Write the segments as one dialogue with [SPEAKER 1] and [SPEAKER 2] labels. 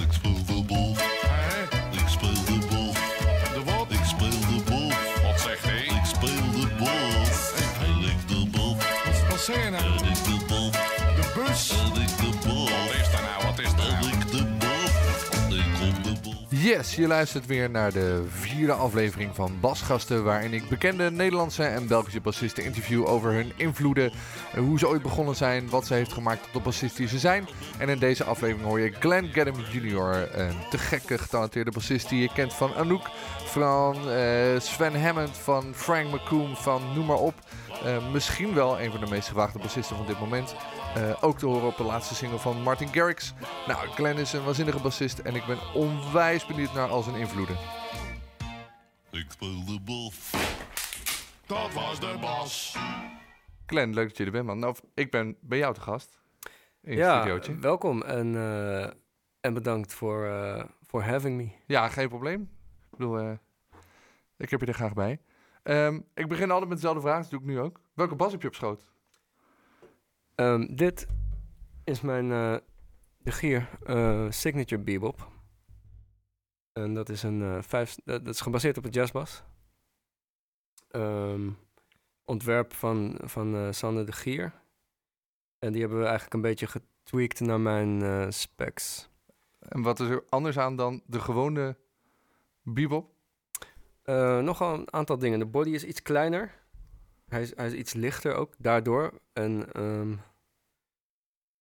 [SPEAKER 1] speel de boef. Ik speel de boef.
[SPEAKER 2] De wat?
[SPEAKER 1] Ik speel de boef.
[SPEAKER 2] Wat zegt hij?
[SPEAKER 1] Ik speel de boef. En ik de boef.
[SPEAKER 2] Wat, wat zeg je nou?
[SPEAKER 1] En ik de boef.
[SPEAKER 2] De bus?
[SPEAKER 1] En ik de boef.
[SPEAKER 2] Wat is dat nou? Wat is dat
[SPEAKER 1] En
[SPEAKER 2] nou?
[SPEAKER 1] ik de boef. Ik kom de boef.
[SPEAKER 3] Yes, je luistert weer naar de vierde aflevering van Basgasten, waarin ik bekende Nederlandse en Belgische bassisten interview over hun invloeden, hoe ze ooit begonnen zijn, wat ze heeft gemaakt tot de bassist die ze zijn. En in deze aflevering hoor je Glenn Gadham Jr., een te gekke getalenteerde bassist die je kent van Anouk, van eh, Sven Hammond, van Frank McCoom, van noem maar op. Eh, misschien wel een van de meest gewaagde bassisten van dit moment. Eh, ook te horen op de laatste single van Martin Garrix. Nou, Glenn is een waanzinnige bassist en ik ben onwijs benieuwd naar al zijn invloeden.
[SPEAKER 1] Ik speel de boef.
[SPEAKER 2] Dat was de bas.
[SPEAKER 3] Glenn, leuk dat je er bent, man. Nou, ik ben bij jou te gast. In het
[SPEAKER 4] ja,
[SPEAKER 3] studiootje.
[SPEAKER 4] welkom en, eh, en bedankt voor eh, voor having me.
[SPEAKER 3] Ja, geen probleem. Ik bedoel, eh, ik heb je er graag bij. Ehm, ik begin altijd met dezelfde vraag, dat doe ik nu ook. Welke bas heb je op schoot?
[SPEAKER 4] Ehm, dit is mijn eh, de gier eh, Signature Bebop. En dat is een eh, vijf, dat, dat is gebaseerd op een jazzbas. Ehm, ontwerp van, van eh, Sander de Gier. En die hebben we eigenlijk een beetje getweakt naar mijn eh, specs.
[SPEAKER 3] En wat is er anders aan dan de gewone bebop?
[SPEAKER 4] Eh, nogal een aantal dingen. De body is iets kleiner. Hij is, hij is iets lichter ook, daardoor. En ehm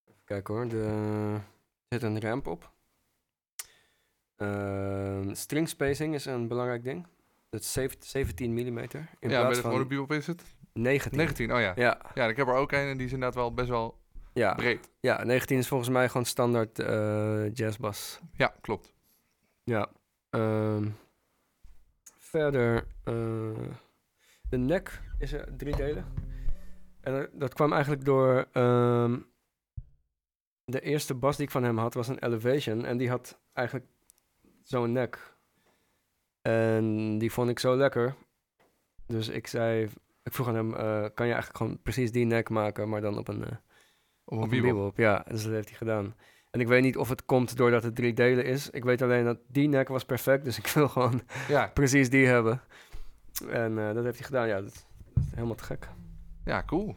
[SPEAKER 4] even kijken hoor, de, er zit een ramp op. Ehm, string spacing is een belangrijk ding. Dat is zeven- 17 mm in
[SPEAKER 3] ja, bij
[SPEAKER 4] plaats
[SPEAKER 3] de gewone
[SPEAKER 4] van
[SPEAKER 3] bebop is het?
[SPEAKER 4] 19.
[SPEAKER 3] 19, oh ja.
[SPEAKER 4] Ja,
[SPEAKER 3] Ja, ik heb er ook een en die is inderdaad wel best wel
[SPEAKER 4] ja,
[SPEAKER 3] breed.
[SPEAKER 4] ja, 19 is volgens mij gewoon standaard eh jazzbas.
[SPEAKER 3] Ja, klopt.
[SPEAKER 4] Ja. ehm, verder, eh, de nek is er drie delen. En er- dat kwam eigenlijk door ehm, de eerste bas die ik van hem had, was een Elevation. En die had eigenlijk zo'n nek. En die vond ik zo lekker. Dus ik zei, ik vroeg aan hem, eh, kan je eigenlijk gewoon precies die nek maken, maar dan op een... eh,
[SPEAKER 3] Op een
[SPEAKER 4] op een
[SPEAKER 3] bebop.
[SPEAKER 4] bebop, ja. Dus dat heeft hij gedaan. En ik weet niet of het komt doordat het drie delen is. Ik weet alleen dat die nek was perfect, dus ik wil gewoon
[SPEAKER 3] Ja,
[SPEAKER 4] precies die hebben. En eh, dat heeft hij gedaan, ja. Dat, dat is helemaal te gek.
[SPEAKER 3] ja, cool.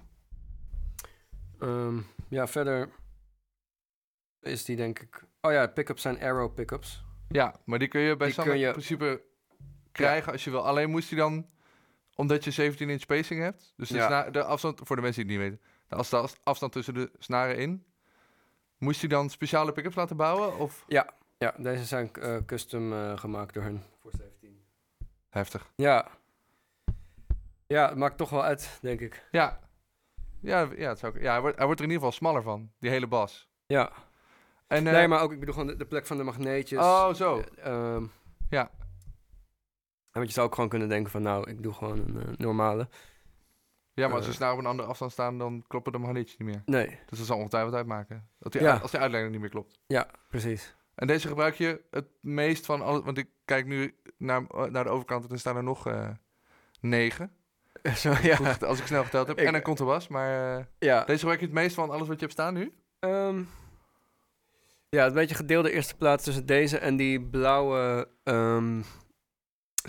[SPEAKER 4] Ehm, ja, verder is die denk ik... Oh ja, pickups zijn Arrow pickups.
[SPEAKER 3] Ja, maar die kun je bij
[SPEAKER 4] Die
[SPEAKER 3] Sander
[SPEAKER 4] kun je-
[SPEAKER 3] in principe krijgen als je wil. Alleen moest hij dan, omdat je 17 inch spacing hebt, dus de,
[SPEAKER 4] Ja.
[SPEAKER 3] sna- de afstand, voor de mensen die het niet weten, de, as- de as- afstand tussen de snaren in, moest hij dan speciale pick-ups laten bouwen? Of
[SPEAKER 4] Ja, deze zijn eh, custom eh, gemaakt door hun. Voor 17.
[SPEAKER 3] heftig?
[SPEAKER 4] Ja. Ja, het maakt toch wel uit, denk ik.
[SPEAKER 3] Ja, ja, ja, het zou, ja hij, wordt, hij wordt er in ieder geval smaller van, die hele bas.
[SPEAKER 4] Ja.
[SPEAKER 3] En, eh,
[SPEAKER 4] Nee, maar ook, ik bedoel gewoon de, de plek van de magneetjes.
[SPEAKER 3] Oh, zo.
[SPEAKER 4] Eh, ehm,
[SPEAKER 3] Ja.
[SPEAKER 4] En Want je zou ook gewoon kunnen denken van, nou, ik doe gewoon een eh, normale.
[SPEAKER 3] Ja, maar als
[SPEAKER 4] eh.
[SPEAKER 3] de snaren op een andere afstand staan, dan kloppen de magnetjes niet meer.
[SPEAKER 4] Nee,
[SPEAKER 3] Dus dat zal ongetwijfeld uitmaken. Dat die,
[SPEAKER 4] Ja.
[SPEAKER 3] Als die uitleiding niet meer klopt.
[SPEAKER 4] ja, precies.
[SPEAKER 3] En deze gebruik je het meest van alles. Want ik kijk nu naar, naar de overkant en er staan er nog eh, negen.
[SPEAKER 4] zo,
[SPEAKER 3] Goed, als ik snel geteld heb.
[SPEAKER 4] Ik-
[SPEAKER 3] en een contrabas. Maar eh,
[SPEAKER 4] ja.
[SPEAKER 3] deze gebruik je het meest van alles wat je hebt staan nu.
[SPEAKER 4] Ehm, ja, een beetje gedeelde eerste plaats tussen deze en die blauwe ehm,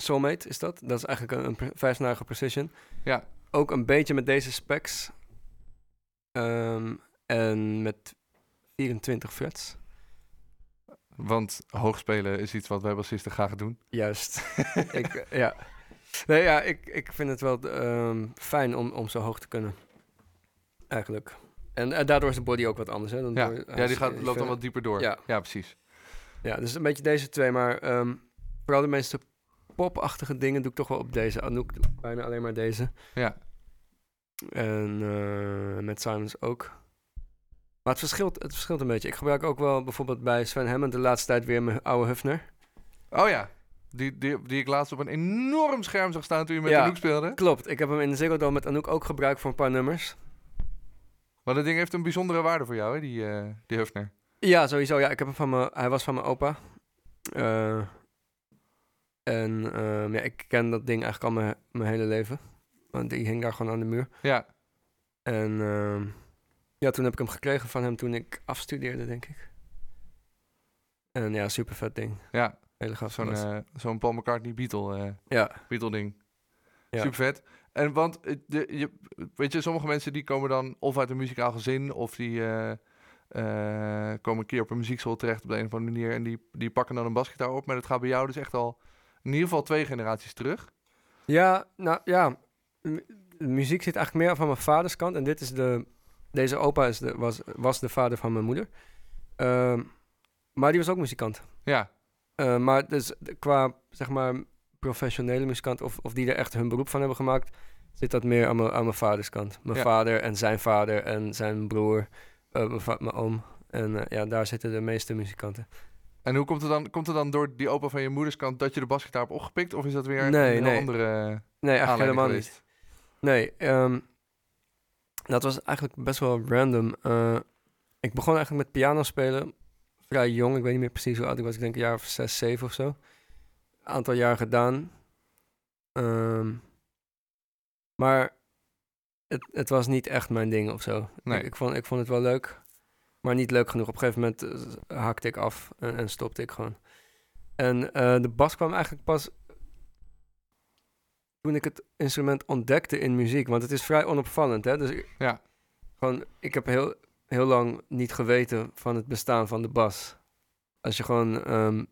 [SPEAKER 4] Soulmate is dat. Dat is eigenlijk een, een pre- vijfsnarige precision.
[SPEAKER 3] Ja.
[SPEAKER 4] Ook een beetje met deze specs. Ehm, en met 24 frets.
[SPEAKER 3] Want hoogspelen is iets wat wij bassisten graag doen.
[SPEAKER 4] Juist. ik, eh, ja. Nee, ja, ik, ik vind het wel ehm, fijn om, om zo hoog te kunnen. Eigenlijk. En, eh, daardoor is de body ook wat anders. Hè? Dan
[SPEAKER 3] Ja,
[SPEAKER 4] door-
[SPEAKER 3] ja
[SPEAKER 4] hij
[SPEAKER 3] die
[SPEAKER 4] is-
[SPEAKER 3] gaat,
[SPEAKER 4] is
[SPEAKER 3] loopt dan
[SPEAKER 4] verder.
[SPEAKER 3] wat dieper door.
[SPEAKER 4] Ja.
[SPEAKER 3] precies.
[SPEAKER 4] Ja, dus een beetje deze twee. Maar ehm, vooral de meeste popachtige dingen doe ik toch wel op deze. Anouk doet bijna alleen maar deze.
[SPEAKER 3] Ja.
[SPEAKER 4] En eh, met Simons ook. Maar het verschilt, het verschilt een beetje. Ik gebruik ook wel bijvoorbeeld bij Sven Hammond de laatste tijd weer mijn oude Hufner.
[SPEAKER 3] Oh ja. Die, die, die ik laatst op een enorm scherm zag staan toen je met
[SPEAKER 4] Ja.
[SPEAKER 3] de Noek speelde.
[SPEAKER 4] Klopt, ik heb hem in de Ziggo Dome met Anouk ook gebruikt voor een paar nummers.
[SPEAKER 3] Maar dat ding heeft een bijzondere waarde voor jou, hè? Die, eh die Hufner.
[SPEAKER 4] Ja, sowieso. Ja, ik heb hem van mijn, hij was van mijn opa. Eh, en ehm, ja, ik ken dat ding eigenlijk al mijn, mijn hele leven. Want die hing daar gewoon aan de muur.
[SPEAKER 3] Ja.
[SPEAKER 4] En ehm, ja, toen heb ik hem gekregen van hem toen ik afstudeerde, denk ik. En ja, super vet ding.
[SPEAKER 3] Ja,
[SPEAKER 4] Hele gaaf.
[SPEAKER 3] zo'n
[SPEAKER 4] gast.
[SPEAKER 3] eh, zo'n Paul McCartney Beatle, eh,
[SPEAKER 4] ja,
[SPEAKER 3] Beatle ding.
[SPEAKER 4] Ja.
[SPEAKER 3] Super vet. En want, eh, de, je, weet je, sommige mensen die komen dan of uit een muzikaal gezin... of die eh, eh, komen een keer op een muziekschool terecht op de een of andere manier... en die, die pakken dan een basgitaar op. Maar dat gaat bij jou dus echt al in ieder geval twee generaties terug.
[SPEAKER 4] ja, nou ja. M- de muziek zit eigenlijk meer van mijn vaders kant. En dit is de, deze opa is de, was, was de vader van mijn moeder. Ehm, maar die was ook muzikant.
[SPEAKER 3] Ja,
[SPEAKER 4] Eh, maar dus de- qua, zeg maar, professionele muzikant of, of die er echt hun beroep van hebben gemaakt, zit dat meer aan mijn, aan mijn vaders kant. Mijn
[SPEAKER 3] Ja.
[SPEAKER 4] vader en zijn vader en zijn broer, eh, mijn, va- mijn oom. En eh, ja, daar zitten de meeste muzikanten.
[SPEAKER 3] en hoe komt het dan, komt het dan door die opa van je moederskant... dat je de basgitaar hebt opgepikt? Of is dat weer
[SPEAKER 4] Nee,
[SPEAKER 3] een heel
[SPEAKER 4] nee.
[SPEAKER 3] andere eh,
[SPEAKER 4] Nee, eigenlijk
[SPEAKER 3] aanleiding
[SPEAKER 4] helemaal niet.
[SPEAKER 3] geweest?
[SPEAKER 4] Nee, ehm, dat was eigenlijk best wel random. Eh, ik begon eigenlijk met piano spelen vrij jong. Ik weet niet meer precies hoe oud ik was. Ik denk een jaar of zes, zeven of zo. Aantal jaar gedaan. Ehm, maar het, het was niet echt mijn ding of zo.
[SPEAKER 3] Nee.
[SPEAKER 4] Ik, ik vond, ik vond het wel leuk, maar niet leuk genoeg. Op een gegeven moment eh, haakte ik af en, en stopte ik gewoon. En eh, de bas kwam eigenlijk pas toen ik het instrument ontdekte in muziek. Want het is vrij onopvallend, hè? Dus ik-
[SPEAKER 3] Ja.
[SPEAKER 4] gewoon, ik heb heel, heel lang niet geweten van het bestaan van de bas. Als je gewoon... ehm,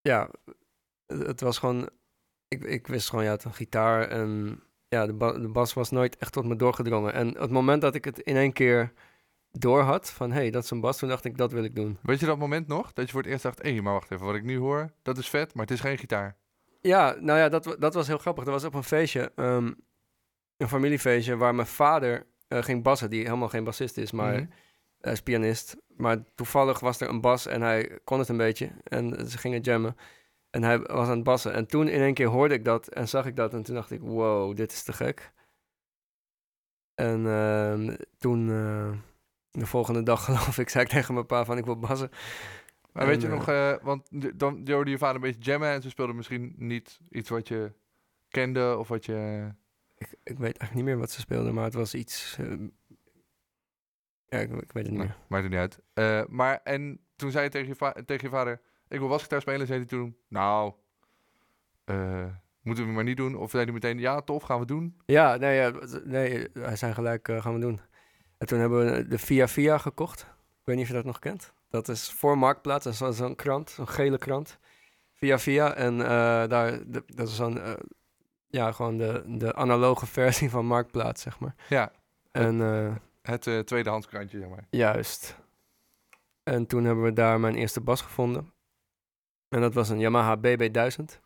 [SPEAKER 4] ja, het, het was gewoon... Ik, ik wist gewoon, ja, het een gitaar en... Ja, de, ba- de bas was nooit echt tot me doorgedrongen. En het moment dat ik het in één keer door had, van hé, hey, dat is een bas, toen dacht ik, dat wil ik doen.
[SPEAKER 3] Weet je dat moment nog? Dat je voor het eerst dacht, hé, maar wacht even, wat ik nu hoor, dat is vet, maar het is geen gitaar.
[SPEAKER 4] Ja, nou ja, dat, wa- dat was heel grappig. Dat was op een feestje, ehm, een familiefeestje, waar mijn vader eh, ging bassen, die helemaal geen bassist is, maar
[SPEAKER 3] Mhm.
[SPEAKER 4] Hij is eh, pianist. Maar toevallig was er een bas en hij kon het een beetje. En ze gingen jammen. En hij was aan het bassen. En toen in één keer hoorde ik dat en zag ik dat. En toen dacht ik, wow, dit is te gek. En ehm, toen, eh, de volgende dag geloof ik, zei ik tegen mijn pa van ik wil bassen.
[SPEAKER 3] Maar weet
[SPEAKER 4] En,
[SPEAKER 3] je
[SPEAKER 4] eh,
[SPEAKER 3] nog, eh, want d- dan je hoorde je vader een beetje jammen en ze speelden misschien niet iets wat je kende of wat je...
[SPEAKER 4] Ik, ik weet eigenlijk niet meer wat ze speelden, maar het was iets... ehm, ja, ik, ik weet het niet
[SPEAKER 3] Nou,
[SPEAKER 4] meer.
[SPEAKER 3] maakt het niet uit. Eh, maar en toen zei je tegen je, va- tegen je vader, ik wil basgitaar spelen, zei hij toen, nou, eh, moeten we maar niet doen. Of zei hij meteen, ja, tof, gaan we doen.
[SPEAKER 4] Ja, nee, ja, d- nee hij zei gelijk, eh, gaan we doen. En toen hebben we de Via Via gekocht. Ik weet niet of je dat nog kent. Dat is voor Marktplaats, dat is zo- zo'n krant, zo'n gele krant. Via Via, en eh, daar, de- dat is zo'n, eh, ja, gewoon de, de analoge versie van Marktplaats, zeg maar.
[SPEAKER 3] Ja.
[SPEAKER 4] En, eh,
[SPEAKER 3] Het eh tweedehands krantje, zeg maar.
[SPEAKER 4] juist. En toen hebben we daar mijn eerste bas gevonden. En dat was een Yamaha BB1000.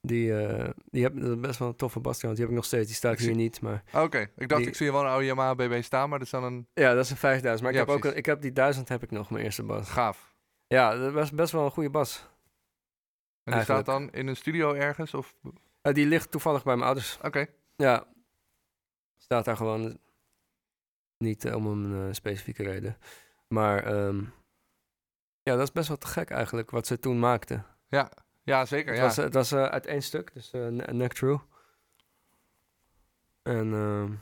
[SPEAKER 4] Die, eh, die heb, dat is best wel een toffe bas trouwens. Die heb ik nog steeds, die staat
[SPEAKER 3] Ik zie-
[SPEAKER 4] hier niet, maar...
[SPEAKER 3] Oké, ik dacht,
[SPEAKER 4] Ah, Die-
[SPEAKER 3] ik zie wel een oude Yamaha BB staan, maar dat is dan een
[SPEAKER 4] Ja, dat is een 5000. Maar ik
[SPEAKER 3] Ja,
[SPEAKER 4] heb ook
[SPEAKER 3] precies.
[SPEAKER 4] een- ik heb die 1000 heb ik nog, mijn eerste bas.
[SPEAKER 3] gaaf.
[SPEAKER 4] Ja, dat was best wel een goede bas.
[SPEAKER 3] En die staat
[SPEAKER 4] Eigenlijk.
[SPEAKER 3] dan in een studio ergens? Of... Oké,
[SPEAKER 4] Eh, die ligt toevallig bij mijn ouders. Ja. Staat daar gewoon. Niet eh, om een eh, specifieke reden. Maar ehm, ja, dat is best wel te gek eigenlijk wat ze toen maakten.
[SPEAKER 3] ja, zeker.
[SPEAKER 4] Het
[SPEAKER 3] Ja.
[SPEAKER 4] was, het was eh, uit één stuk, dus eh, ne- Neck True. En ehm,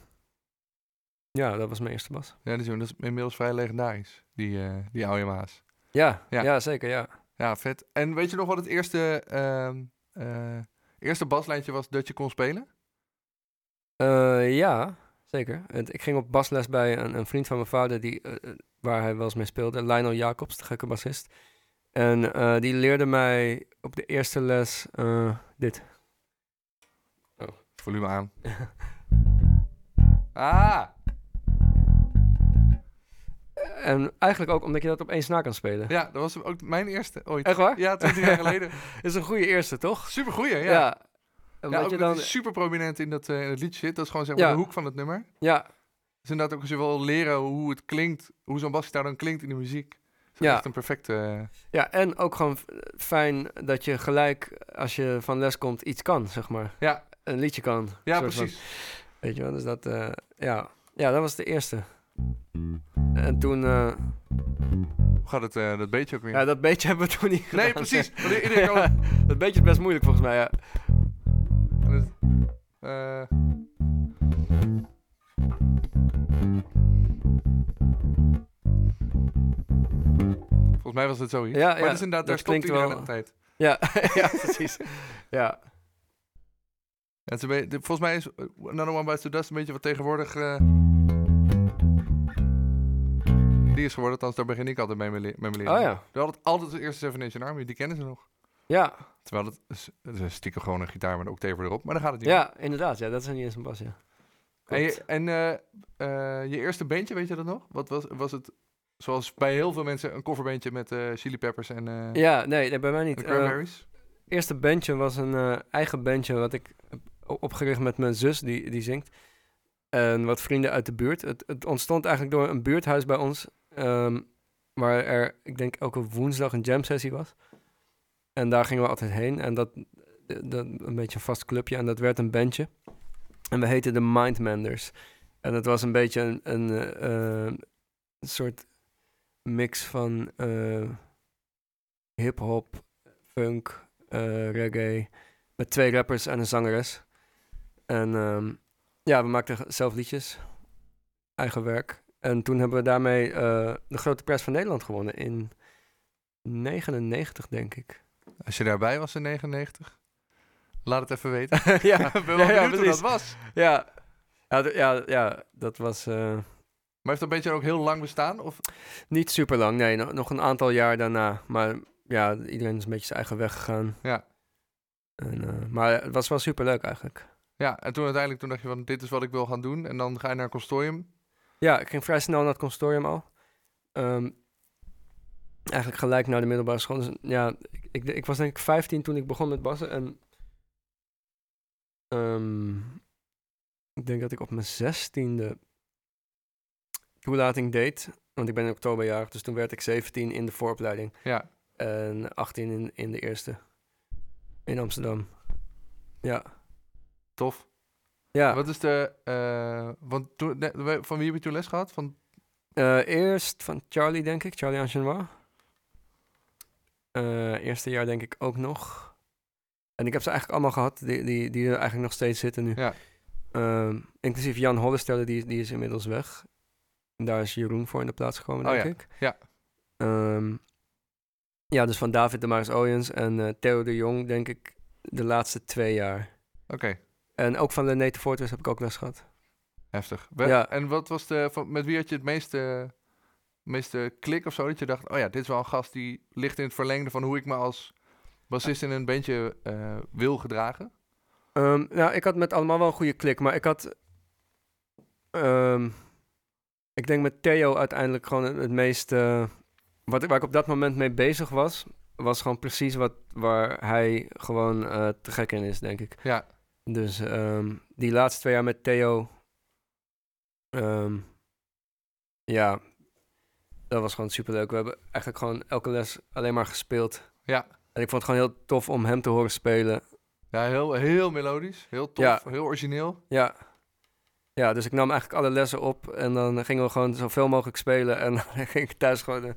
[SPEAKER 4] ja, dat was mijn eerste bas.
[SPEAKER 3] Ja, dat is, dat is inmiddels vrij legendarisch, die, eh die oude Yamaha's.
[SPEAKER 4] Ja,
[SPEAKER 3] Ja.
[SPEAKER 4] ja. zeker, ja.
[SPEAKER 3] Ja, vet. En weet je nog wat het eerste, ehm, eh, eerste baslijntje was dat je kon spelen?
[SPEAKER 4] Eh, ja, zeker. Het- ik ging op basles bij een, een vriend van mijn vader, die, eh, eh, waar hij wel eens mee speelde, Lionel Jacobs, de gekke bassist. En eh, die leerde mij op de eerste les eh, dit.
[SPEAKER 3] Volume aan. Ah,
[SPEAKER 4] en eigenlijk ook omdat je dat op één snaar kan spelen.
[SPEAKER 3] ja, dat was ook mijn eerste ooit.
[SPEAKER 4] Echt waar?
[SPEAKER 3] Ja, 20 jaar geleden.
[SPEAKER 4] Is een goede eerste, toch?
[SPEAKER 3] Supergoeie, ja. ja.
[SPEAKER 4] ja. Omdat
[SPEAKER 3] ook
[SPEAKER 4] je
[SPEAKER 3] dat
[SPEAKER 4] dan,
[SPEAKER 3] die super prominent in dat, eh, in het liedje zit. Dat is gewoon zeg maar
[SPEAKER 4] Ja.
[SPEAKER 3] de hoek van het nummer.
[SPEAKER 4] ja,
[SPEAKER 3] Dus inderdaad ook als je wil leren hoe het klinkt, hoe zo'n basgitaar dan klinkt in de muziek. Dat is
[SPEAKER 4] Ja.
[SPEAKER 3] echt een perfecte... eh,
[SPEAKER 4] ja, en ook gewoon f- fijn dat je gelijk, als je van les komt, iets kan, zeg maar.
[SPEAKER 3] Ja.
[SPEAKER 4] Een liedje kan.
[SPEAKER 3] ja,
[SPEAKER 4] soort van.
[SPEAKER 3] precies.
[SPEAKER 4] Weet je wel, dus dat, eh, ja. ja, dat was de eerste. En toen, eh,
[SPEAKER 3] Hoe gaat het, eh, dat beetje ook weer?
[SPEAKER 4] ja, dat beetje hebben we toen niet
[SPEAKER 3] nee,
[SPEAKER 4] gedaan.
[SPEAKER 3] precies. Want iedereen kan-
[SPEAKER 4] dat beetje is best moeilijk volgens mij, ja.
[SPEAKER 3] En het- eh. Volgens mij was het zoiets.
[SPEAKER 4] Ja,
[SPEAKER 3] maar
[SPEAKER 4] ja,
[SPEAKER 3] dat is inderdaad, daar
[SPEAKER 4] dat
[SPEAKER 3] stopt
[SPEAKER 4] klinkt
[SPEAKER 3] iedereen
[SPEAKER 4] wel-
[SPEAKER 3] altijd.
[SPEAKER 4] Ja, ja precies. Ja.
[SPEAKER 3] Ja, het is een beetje- de- volgens mij is eh, Another One Bites the Dust een beetje wat tegenwoordig... eh, die is geworden, althans daar begin ik altijd mee met mijn leren.
[SPEAKER 4] Oh ja.
[SPEAKER 3] We hadden het altijd de eerste Seven Nation Army, die kennen ze nog.
[SPEAKER 4] Ja,
[SPEAKER 3] Terwijl het, is- het is stiekem gewoon een gitaar met een octave erop, maar daar gaat het niet om.
[SPEAKER 4] ja inderdaad. Ja, dat is niet eens een bas, ja.
[SPEAKER 3] En, je,
[SPEAKER 4] Klopt.
[SPEAKER 3] en eh, eh, je eerste bandje, weet je dat nog? Wat was, was het, zoals bij heel veel mensen, een coverbeentje met eh, Chili Peppers en eh
[SPEAKER 4] Ja, nee, nee, bij mij niet.
[SPEAKER 3] de
[SPEAKER 4] Eh,
[SPEAKER 3] Cranberries?
[SPEAKER 4] eerste bandje was een eh, eigen bandje wat ik heb o- opgericht met mijn zus, die, die zingt. En wat vrienden uit de buurt. Het, het ontstond eigenlijk door een buurthuis bij ons, ehm, waar er, ik denk, elke woensdag een jam sessie was. En daar gingen we altijd heen. En dat, dat een beetje een vast clubje. En dat werd een bandje. En we heten de Mindmenders. En dat was een beetje een, een eh, eh, soort mix van eh, hip-hop, funk, eh, reggae. Met twee rappers en een zangeres. En ehm, ja, we maakten ge- zelf liedjes. Eigen werk. En toen hebben we daarmee eh, de grote prijs van Nederland gewonnen in 99, denk ik.
[SPEAKER 3] eh, Als je daarbij was in 99, laat het even weten.
[SPEAKER 4] ja,
[SPEAKER 3] Ik ben
[SPEAKER 4] ja,
[SPEAKER 3] wel
[SPEAKER 4] ja,
[SPEAKER 3] benieuwd hoe dat
[SPEAKER 4] precies.
[SPEAKER 3] was.
[SPEAKER 4] ja. Ja, d- ja, ja, dat was eh,
[SPEAKER 3] Maar heeft dat beetje ook heel lang bestaan? Of
[SPEAKER 4] niet super lang. Nee, no- nog een aantal jaar daarna. Maar ja, iedereen is een beetje zijn eigen weg gegaan.
[SPEAKER 3] Ja.
[SPEAKER 4] En, eh, maar het was wel super leuk eigenlijk.
[SPEAKER 3] Ja, en toen uiteindelijk toen dacht je van dit is wat ik wil gaan doen. En dan ga je naar een consortium.
[SPEAKER 4] Ja, ik ging vrij snel naar het consortium al. Ehm, eigenlijk gelijk naar de middelbare school. Dus ja, ik, ik, ik was denk ik 15 toen ik begon met bassen. En ehm, ik denk dat ik op mijn 16e toelating deed. Want ik ben in oktober jarig, dus toen werd ik 17 in de vooropleiding.
[SPEAKER 3] Ja.
[SPEAKER 4] En 18 in, in de eerste. In Amsterdam. Ja.
[SPEAKER 3] Tof.
[SPEAKER 4] ja.
[SPEAKER 3] Wat is de... eh, want toen, nee, we- van wie heb je toen les gehad? Van,
[SPEAKER 4] Eh, eerst van Charlie, denk ik. Charlie Angenois. Eh eerste jaar denk ik ook nog. En ik heb ze eigenlijk allemaal gehad, die, die, die er eigenlijk nog steeds zitten nu.
[SPEAKER 3] Ja.
[SPEAKER 4] Ehm, inclusief Jan Hollestelle, die, is- die is inmiddels weg. En daar is Jeroen voor in de plaats gekomen,
[SPEAKER 3] Oh
[SPEAKER 4] denk
[SPEAKER 3] ja,
[SPEAKER 4] ik.
[SPEAKER 3] ja.
[SPEAKER 4] Ehm, ja, dus van David de Maris Oyens en eh, Theo de Jong, denk ik, de laatste twee jaar.
[SPEAKER 3] Oké,
[SPEAKER 4] En ook van René de Fortress heb ik ook les gehad.
[SPEAKER 3] heftig. We-
[SPEAKER 4] Ja.
[SPEAKER 3] En wat was de... Van, met wie had je het meeste, meeste klik of zo? Dat je dacht, oh ja, dit is wel een gast die ligt in het verlengde van hoe ik me als bassist in een bandje eh, wil gedragen.
[SPEAKER 4] Ehm, nou, ik had met allemaal wel een goede klik, maar ik had. ehm, ik denk met Theo uiteindelijk gewoon het, het meest. eh, wat, ik- waar ik op dat moment mee bezig was, was gewoon precies wat, waar hij gewoon eh, te gek in is, denk ik.
[SPEAKER 3] Ja.
[SPEAKER 4] Dus ehm, die laatste twee jaar met Theo. ehm, ja, dat was gewoon superleuk. We hebben eigenlijk gewoon elke les alleen maar gespeeld.
[SPEAKER 3] Ja.
[SPEAKER 4] En ik vond het gewoon heel tof om hem te horen spelen.
[SPEAKER 3] Ja, heel, heel melodisch. Heel tof.
[SPEAKER 4] Ja.
[SPEAKER 3] Heel origineel.
[SPEAKER 4] Ja. Ja, dus ik nam eigenlijk alle lessen op en dan gingen we gewoon zoveel mogelijk spelen. En dan ging ik thuis gewoon eh,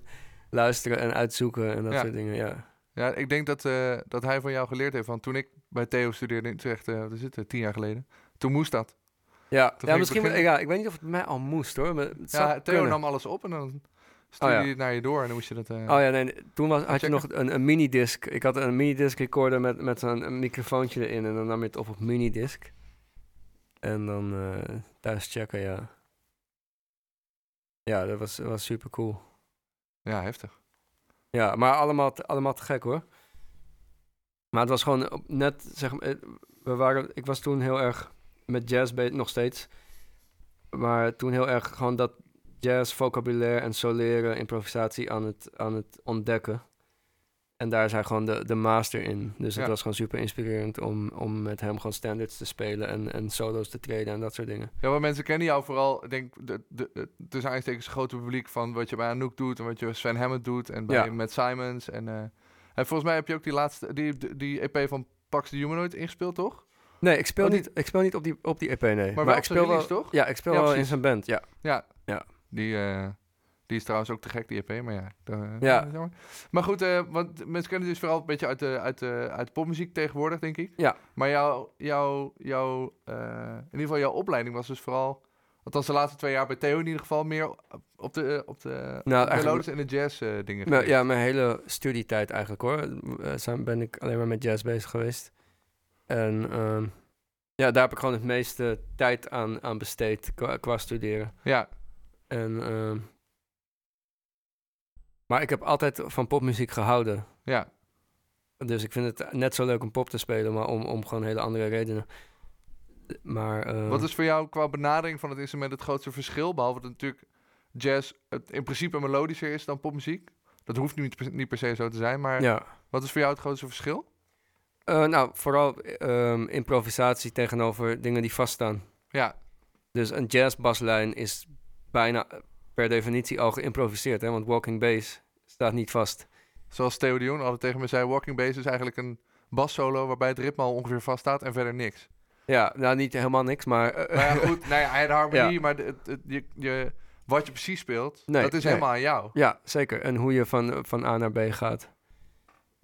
[SPEAKER 4] luisteren en uitzoeken en dat
[SPEAKER 3] Ja.
[SPEAKER 4] soort dingen. Ja.
[SPEAKER 3] Ja, ik denk dat, eh, dat hij van jou geleerd heeft. Want toen ik bij Theo studeerde in Utrecht, eh, wat is het, eh, tien jaar geleden. Toen moest dat.
[SPEAKER 4] Ja,
[SPEAKER 3] ging
[SPEAKER 4] ja
[SPEAKER 3] ik
[SPEAKER 4] misschien. wel-
[SPEAKER 3] beginnen-
[SPEAKER 4] Ja, ik weet niet of het bij mij al moest hoor. Maar het zou
[SPEAKER 3] Ja, Theo
[SPEAKER 4] kunnen.
[SPEAKER 3] nam alles op en dan stuurde
[SPEAKER 4] Oh ja.
[SPEAKER 3] hij het naar je door en dan moest je dat... eh,
[SPEAKER 4] Oh ja, nee, nee, toen was, had je
[SPEAKER 3] Checken.
[SPEAKER 4] nog een, een minidisc. Ik had een minidisc recorder met, met zo'n een microfoontje erin en dan nam je het op op minidisc. En dan eh, thuis checken, ja. Ja, dat was, was super cool.
[SPEAKER 3] ja, heftig.
[SPEAKER 4] Ja, maar allemaal te, allemaal te gek hoor. Maar het was gewoon op- net, zeg maar, eh, we waren, ik was toen heel erg met jazz bezig, nog steeds. Maar toen heel erg gewoon dat jazz, vocabulaire en soleren, improvisatie aan het, aan het ontdekken. En daar is hij gewoon de, de master in. Dus het
[SPEAKER 3] Ja.
[SPEAKER 4] was gewoon super inspirerend om, om met hem gewoon standards te spelen en, en solos te treden en dat soort dingen.
[SPEAKER 3] Ja, maar mensen kennen jou vooral, ik denk de, de, de, tussen aanstekens het grote publiek van wat je bij Anouk doet en wat je bij Sven Hammond doet en bij
[SPEAKER 4] Ja.
[SPEAKER 3] Matt Simons. En, eh, en volgens mij heb je ook die laatste, die, die EP van Pax de Humanoid ingespeeld, toch?
[SPEAKER 4] Nee, ik speel,
[SPEAKER 3] Oh, die-
[SPEAKER 4] niet, ik speel niet op die, op die EP, nee.
[SPEAKER 3] wel
[SPEAKER 4] Maar,
[SPEAKER 3] op
[SPEAKER 4] ik
[SPEAKER 3] de
[SPEAKER 4] speel
[SPEAKER 3] release,
[SPEAKER 4] wel,
[SPEAKER 3] toch?
[SPEAKER 4] Ja, ik speel
[SPEAKER 3] Ja,
[SPEAKER 4] wel in
[SPEAKER 3] precies.
[SPEAKER 4] zijn band, ja.
[SPEAKER 3] Die, eh, die is trouwens ook te gek, die EP, maar ja. daar-
[SPEAKER 4] Ja.
[SPEAKER 3] jammer. Maar goed, eh, want mensen kennen dus vooral een beetje uit, de, uit, de, uit de popmuziek tegenwoordig, denk ik.
[SPEAKER 4] Ja.
[SPEAKER 3] Maar jouw, jouw, jouw eh, in ieder geval jouw opleiding was dus vooral Althans, de laatste twee jaar bij Theo in ieder geval meer op- op de, eh, op de
[SPEAKER 4] Nou, eigenlijk,
[SPEAKER 3] melodies en de jazz eh, dingen.
[SPEAKER 4] nou,
[SPEAKER 3] geweest.
[SPEAKER 4] ja, mijn hele studietijd eigenlijk hoor. Eh, zijn, ben ik alleen maar met jazz bezig geweest. En ehm, ja, daar heb ik gewoon het meeste tijd aan, aan besteed qua, qua studeren.
[SPEAKER 3] ja,
[SPEAKER 4] En, ehm, maar ik heb altijd van popmuziek gehouden.
[SPEAKER 3] ja.
[SPEAKER 4] Dus ik vind het net zo leuk om pop te spelen, maar om, om gewoon hele andere redenen. Maar, eh,
[SPEAKER 3] Wat is voor jou qua benadering van het instrument het grootste verschil? Behalve dat natuurlijk jazz het in principe melodischer is dan popmuziek. Dat hoeft niet per, niet per se zo te zijn, maar
[SPEAKER 4] Ja.
[SPEAKER 3] wat is voor jou het grootste verschil?
[SPEAKER 4] Eh, nou, vooral ehm, improvisatie tegenover dingen die vaststaan.
[SPEAKER 3] Ja,
[SPEAKER 4] Dus een jazzbaslijn is bijna eh, per definitie al geïmproviseerd, hè? want walking bass staat niet vast.
[SPEAKER 3] zoals Theo de Jong altijd tegen me zei, walking bass is eigenlijk een bassolo waarbij het ritme al ongeveer vaststaat en verder niks.
[SPEAKER 4] Ja, nou niet helemaal niks, maar... eh,
[SPEAKER 3] Nou ja, goed, nou ja, hij had harmonie,
[SPEAKER 4] Ja.
[SPEAKER 3] maar de- het- het- je, je, wat je precies speelt,
[SPEAKER 4] Nee,
[SPEAKER 3] dat is
[SPEAKER 4] nee.
[SPEAKER 3] helemaal aan jou.
[SPEAKER 4] ja, zeker. En hoe je van, van A naar B gaat.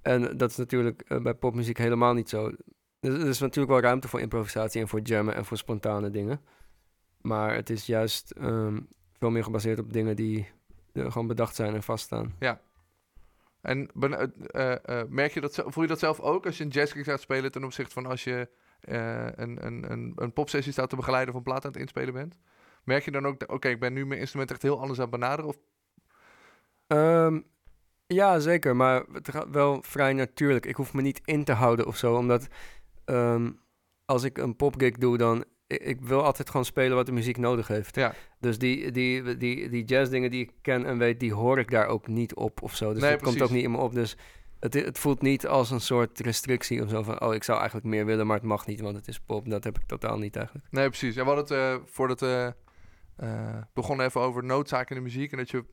[SPEAKER 4] En dat is natuurlijk eh, bij popmuziek helemaal niet zo. Dus Er is natuurlijk wel ruimte voor improvisatie en voor jammen en voor spontane dingen. Maar het is juist ehm, veel meer gebaseerd op dingen die eh, gewoon bedacht zijn en vaststaan.
[SPEAKER 3] En ben- eh, eh, eh, merk je dat, zelf- voel je dat zelf ook als je een jazzkick gaat spelen ten opzichte van als je eh, een, een, een, een popsessie staat te begeleiden of een plaat aan het inspelen bent? Merk je dan ook, dat, oké, ik ben nu mijn instrument echt heel anders aan het benaderen? Of,
[SPEAKER 4] Ehm, ja, zeker. Maar het gaat wel vrij natuurlijk. Ik hoef me niet in te houden of zo. Omdat ehm, als ik een popgig doe, dan... Ik, ik wil altijd gewoon spelen wat de muziek nodig heeft.
[SPEAKER 3] Ja.
[SPEAKER 4] Dus die, die, die, die jazzdingen die ik ken en weet, die hoor ik daar ook niet op of zo. Dus
[SPEAKER 3] Nee,
[SPEAKER 4] dat komt
[SPEAKER 3] precies.
[SPEAKER 4] ook niet in me op. Dus het, het voelt niet als een soort restrictie of zo. Van, oh, ik zou eigenlijk meer willen, maar het mag niet, want het is pop. Dat heb ik totaal niet eigenlijk.
[SPEAKER 3] nee, precies. En we hadden het eh, voordat we eh begonnen even over noodzaak in de muziek en dat je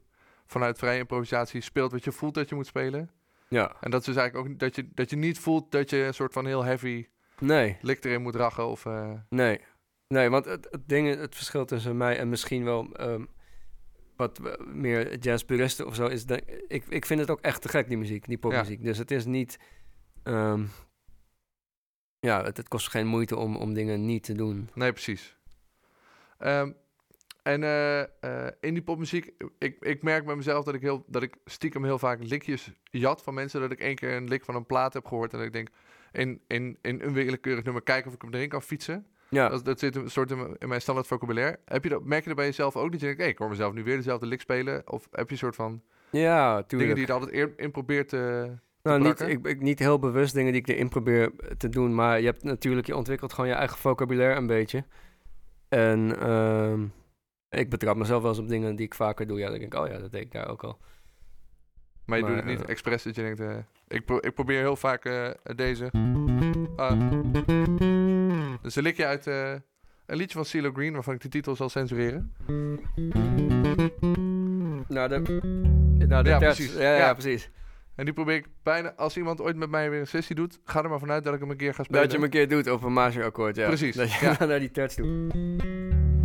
[SPEAKER 3] vanuit vrije improvisatie speelt wat je voelt dat je moet spelen.
[SPEAKER 4] Ja.
[SPEAKER 3] En dat is dus eigenlijk ook dat je, dat je niet voelt dat je een soort van heel heavy
[SPEAKER 4] Nee.
[SPEAKER 3] lik erin moet rachen of... eh,
[SPEAKER 4] Nee, nee want het, het, ding, het verschil tussen mij en misschien wel ehm, wat we- meer jazzpuristen of zo is... dat ik, ik vind het ook echt te gek, die muziek, die popmuziek. Dus het is niet... ehm, ja, het, het kost geen moeite om, om dingen niet te doen.
[SPEAKER 3] Nee, precies. Ehm, en eh eh, in die popmuziek, ik, ik merk bij mezelf dat ik, heel, dat ik stiekem heel vaak likjes jat van mensen. Dat ik één keer een lik van een plaat heb gehoord en dat ik denk, in, in, in een willekeurig nummer kijken of ik hem erin kan fietsen.
[SPEAKER 4] Ja,
[SPEAKER 3] Dat, dat zit een soort in, mijn- in mijn standaard vocabulaire. Heb je dat, merk je dat bij jezelf ook? Dat je denkt, hey, ik hoor mezelf nu weer dezelfde lik spelen. Of heb je een soort van
[SPEAKER 4] ja
[SPEAKER 3] dingen
[SPEAKER 4] tuurlijk.
[SPEAKER 3] die je er altijd eer- in probeert eh, te...
[SPEAKER 4] nou, niet,
[SPEAKER 3] plakken?
[SPEAKER 4] ik, ik, niet heel bewust dingen die ik erin probeer eh, te doen. Maar je hebt natuurlijk, je ontwikkelt gewoon je eigen vocabulaire een beetje. En ehm, ik betrap mezelf wel eens op dingen die ik vaker doe. Ja, dan denk ik, oh ja, dat deed ik daar ook al.
[SPEAKER 3] Maar je
[SPEAKER 4] Maar,
[SPEAKER 3] doet het niet
[SPEAKER 4] eh,
[SPEAKER 3] expres dat je denkt... eh, ik, pro- ik probeer heel vaak eh, deze. Ah. Dus een likje uit eh, een liedje van CeeLo Green... waarvan ik de titel zal censureren.
[SPEAKER 4] Nou, de, nou, de
[SPEAKER 3] Ja,
[SPEAKER 4] terts.
[SPEAKER 3] precies.
[SPEAKER 4] Ja, ja,
[SPEAKER 3] Ja.
[SPEAKER 4] precies.
[SPEAKER 3] En die probeer ik bijna... Als iemand ooit met mij weer een sessie doet... ga er maar vanuit dat ik hem een keer ga spelen.
[SPEAKER 4] Dat je hem een keer doet op een majorakkoord, ja.
[SPEAKER 3] Precies,
[SPEAKER 4] Dat je
[SPEAKER 3] ja.
[SPEAKER 4] naar die terts doet.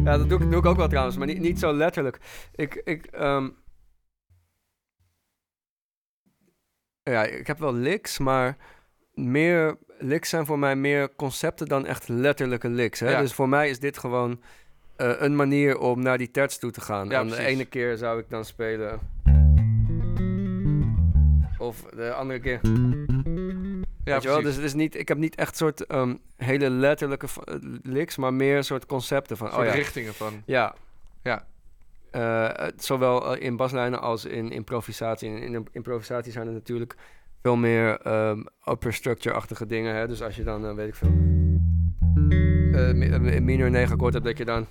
[SPEAKER 4] Ja, dat doe ik, doe ik ook wel trouwens, maar niet, niet zo letterlijk. Ik, ik, ehm, ja, ik heb wel licks, maar meer licks zijn voor mij meer concepten dan echt letterlijke licks. Hè?
[SPEAKER 3] Ja.
[SPEAKER 4] Dus voor mij is dit gewoon eh, een manier om naar die terts toe te gaan.
[SPEAKER 3] Ja,
[SPEAKER 4] en de
[SPEAKER 3] precies.
[SPEAKER 4] ene keer zou ik dan spelen... Of de andere keer...
[SPEAKER 3] Ja,
[SPEAKER 4] Weet je wel?
[SPEAKER 3] precies.
[SPEAKER 4] Dus het is niet, ik heb niet echt soort ehm, hele letterlijke v- eh, licks, maar meer soort concepten van.
[SPEAKER 3] Een soort
[SPEAKER 4] Oh ja.
[SPEAKER 3] richtingen van...
[SPEAKER 4] ja.
[SPEAKER 3] Ja.
[SPEAKER 4] Eh, eh, zowel eh, in baslijnen als in improvisatie. In, in improvisatie zijn er natuurlijk veel meer ehm, upper structure-achtige dingen. Hè? Dus als je dan, eh, weet ik veel, eh, mi- eh, mi- minor 9 akkoord hebt, dat je dan...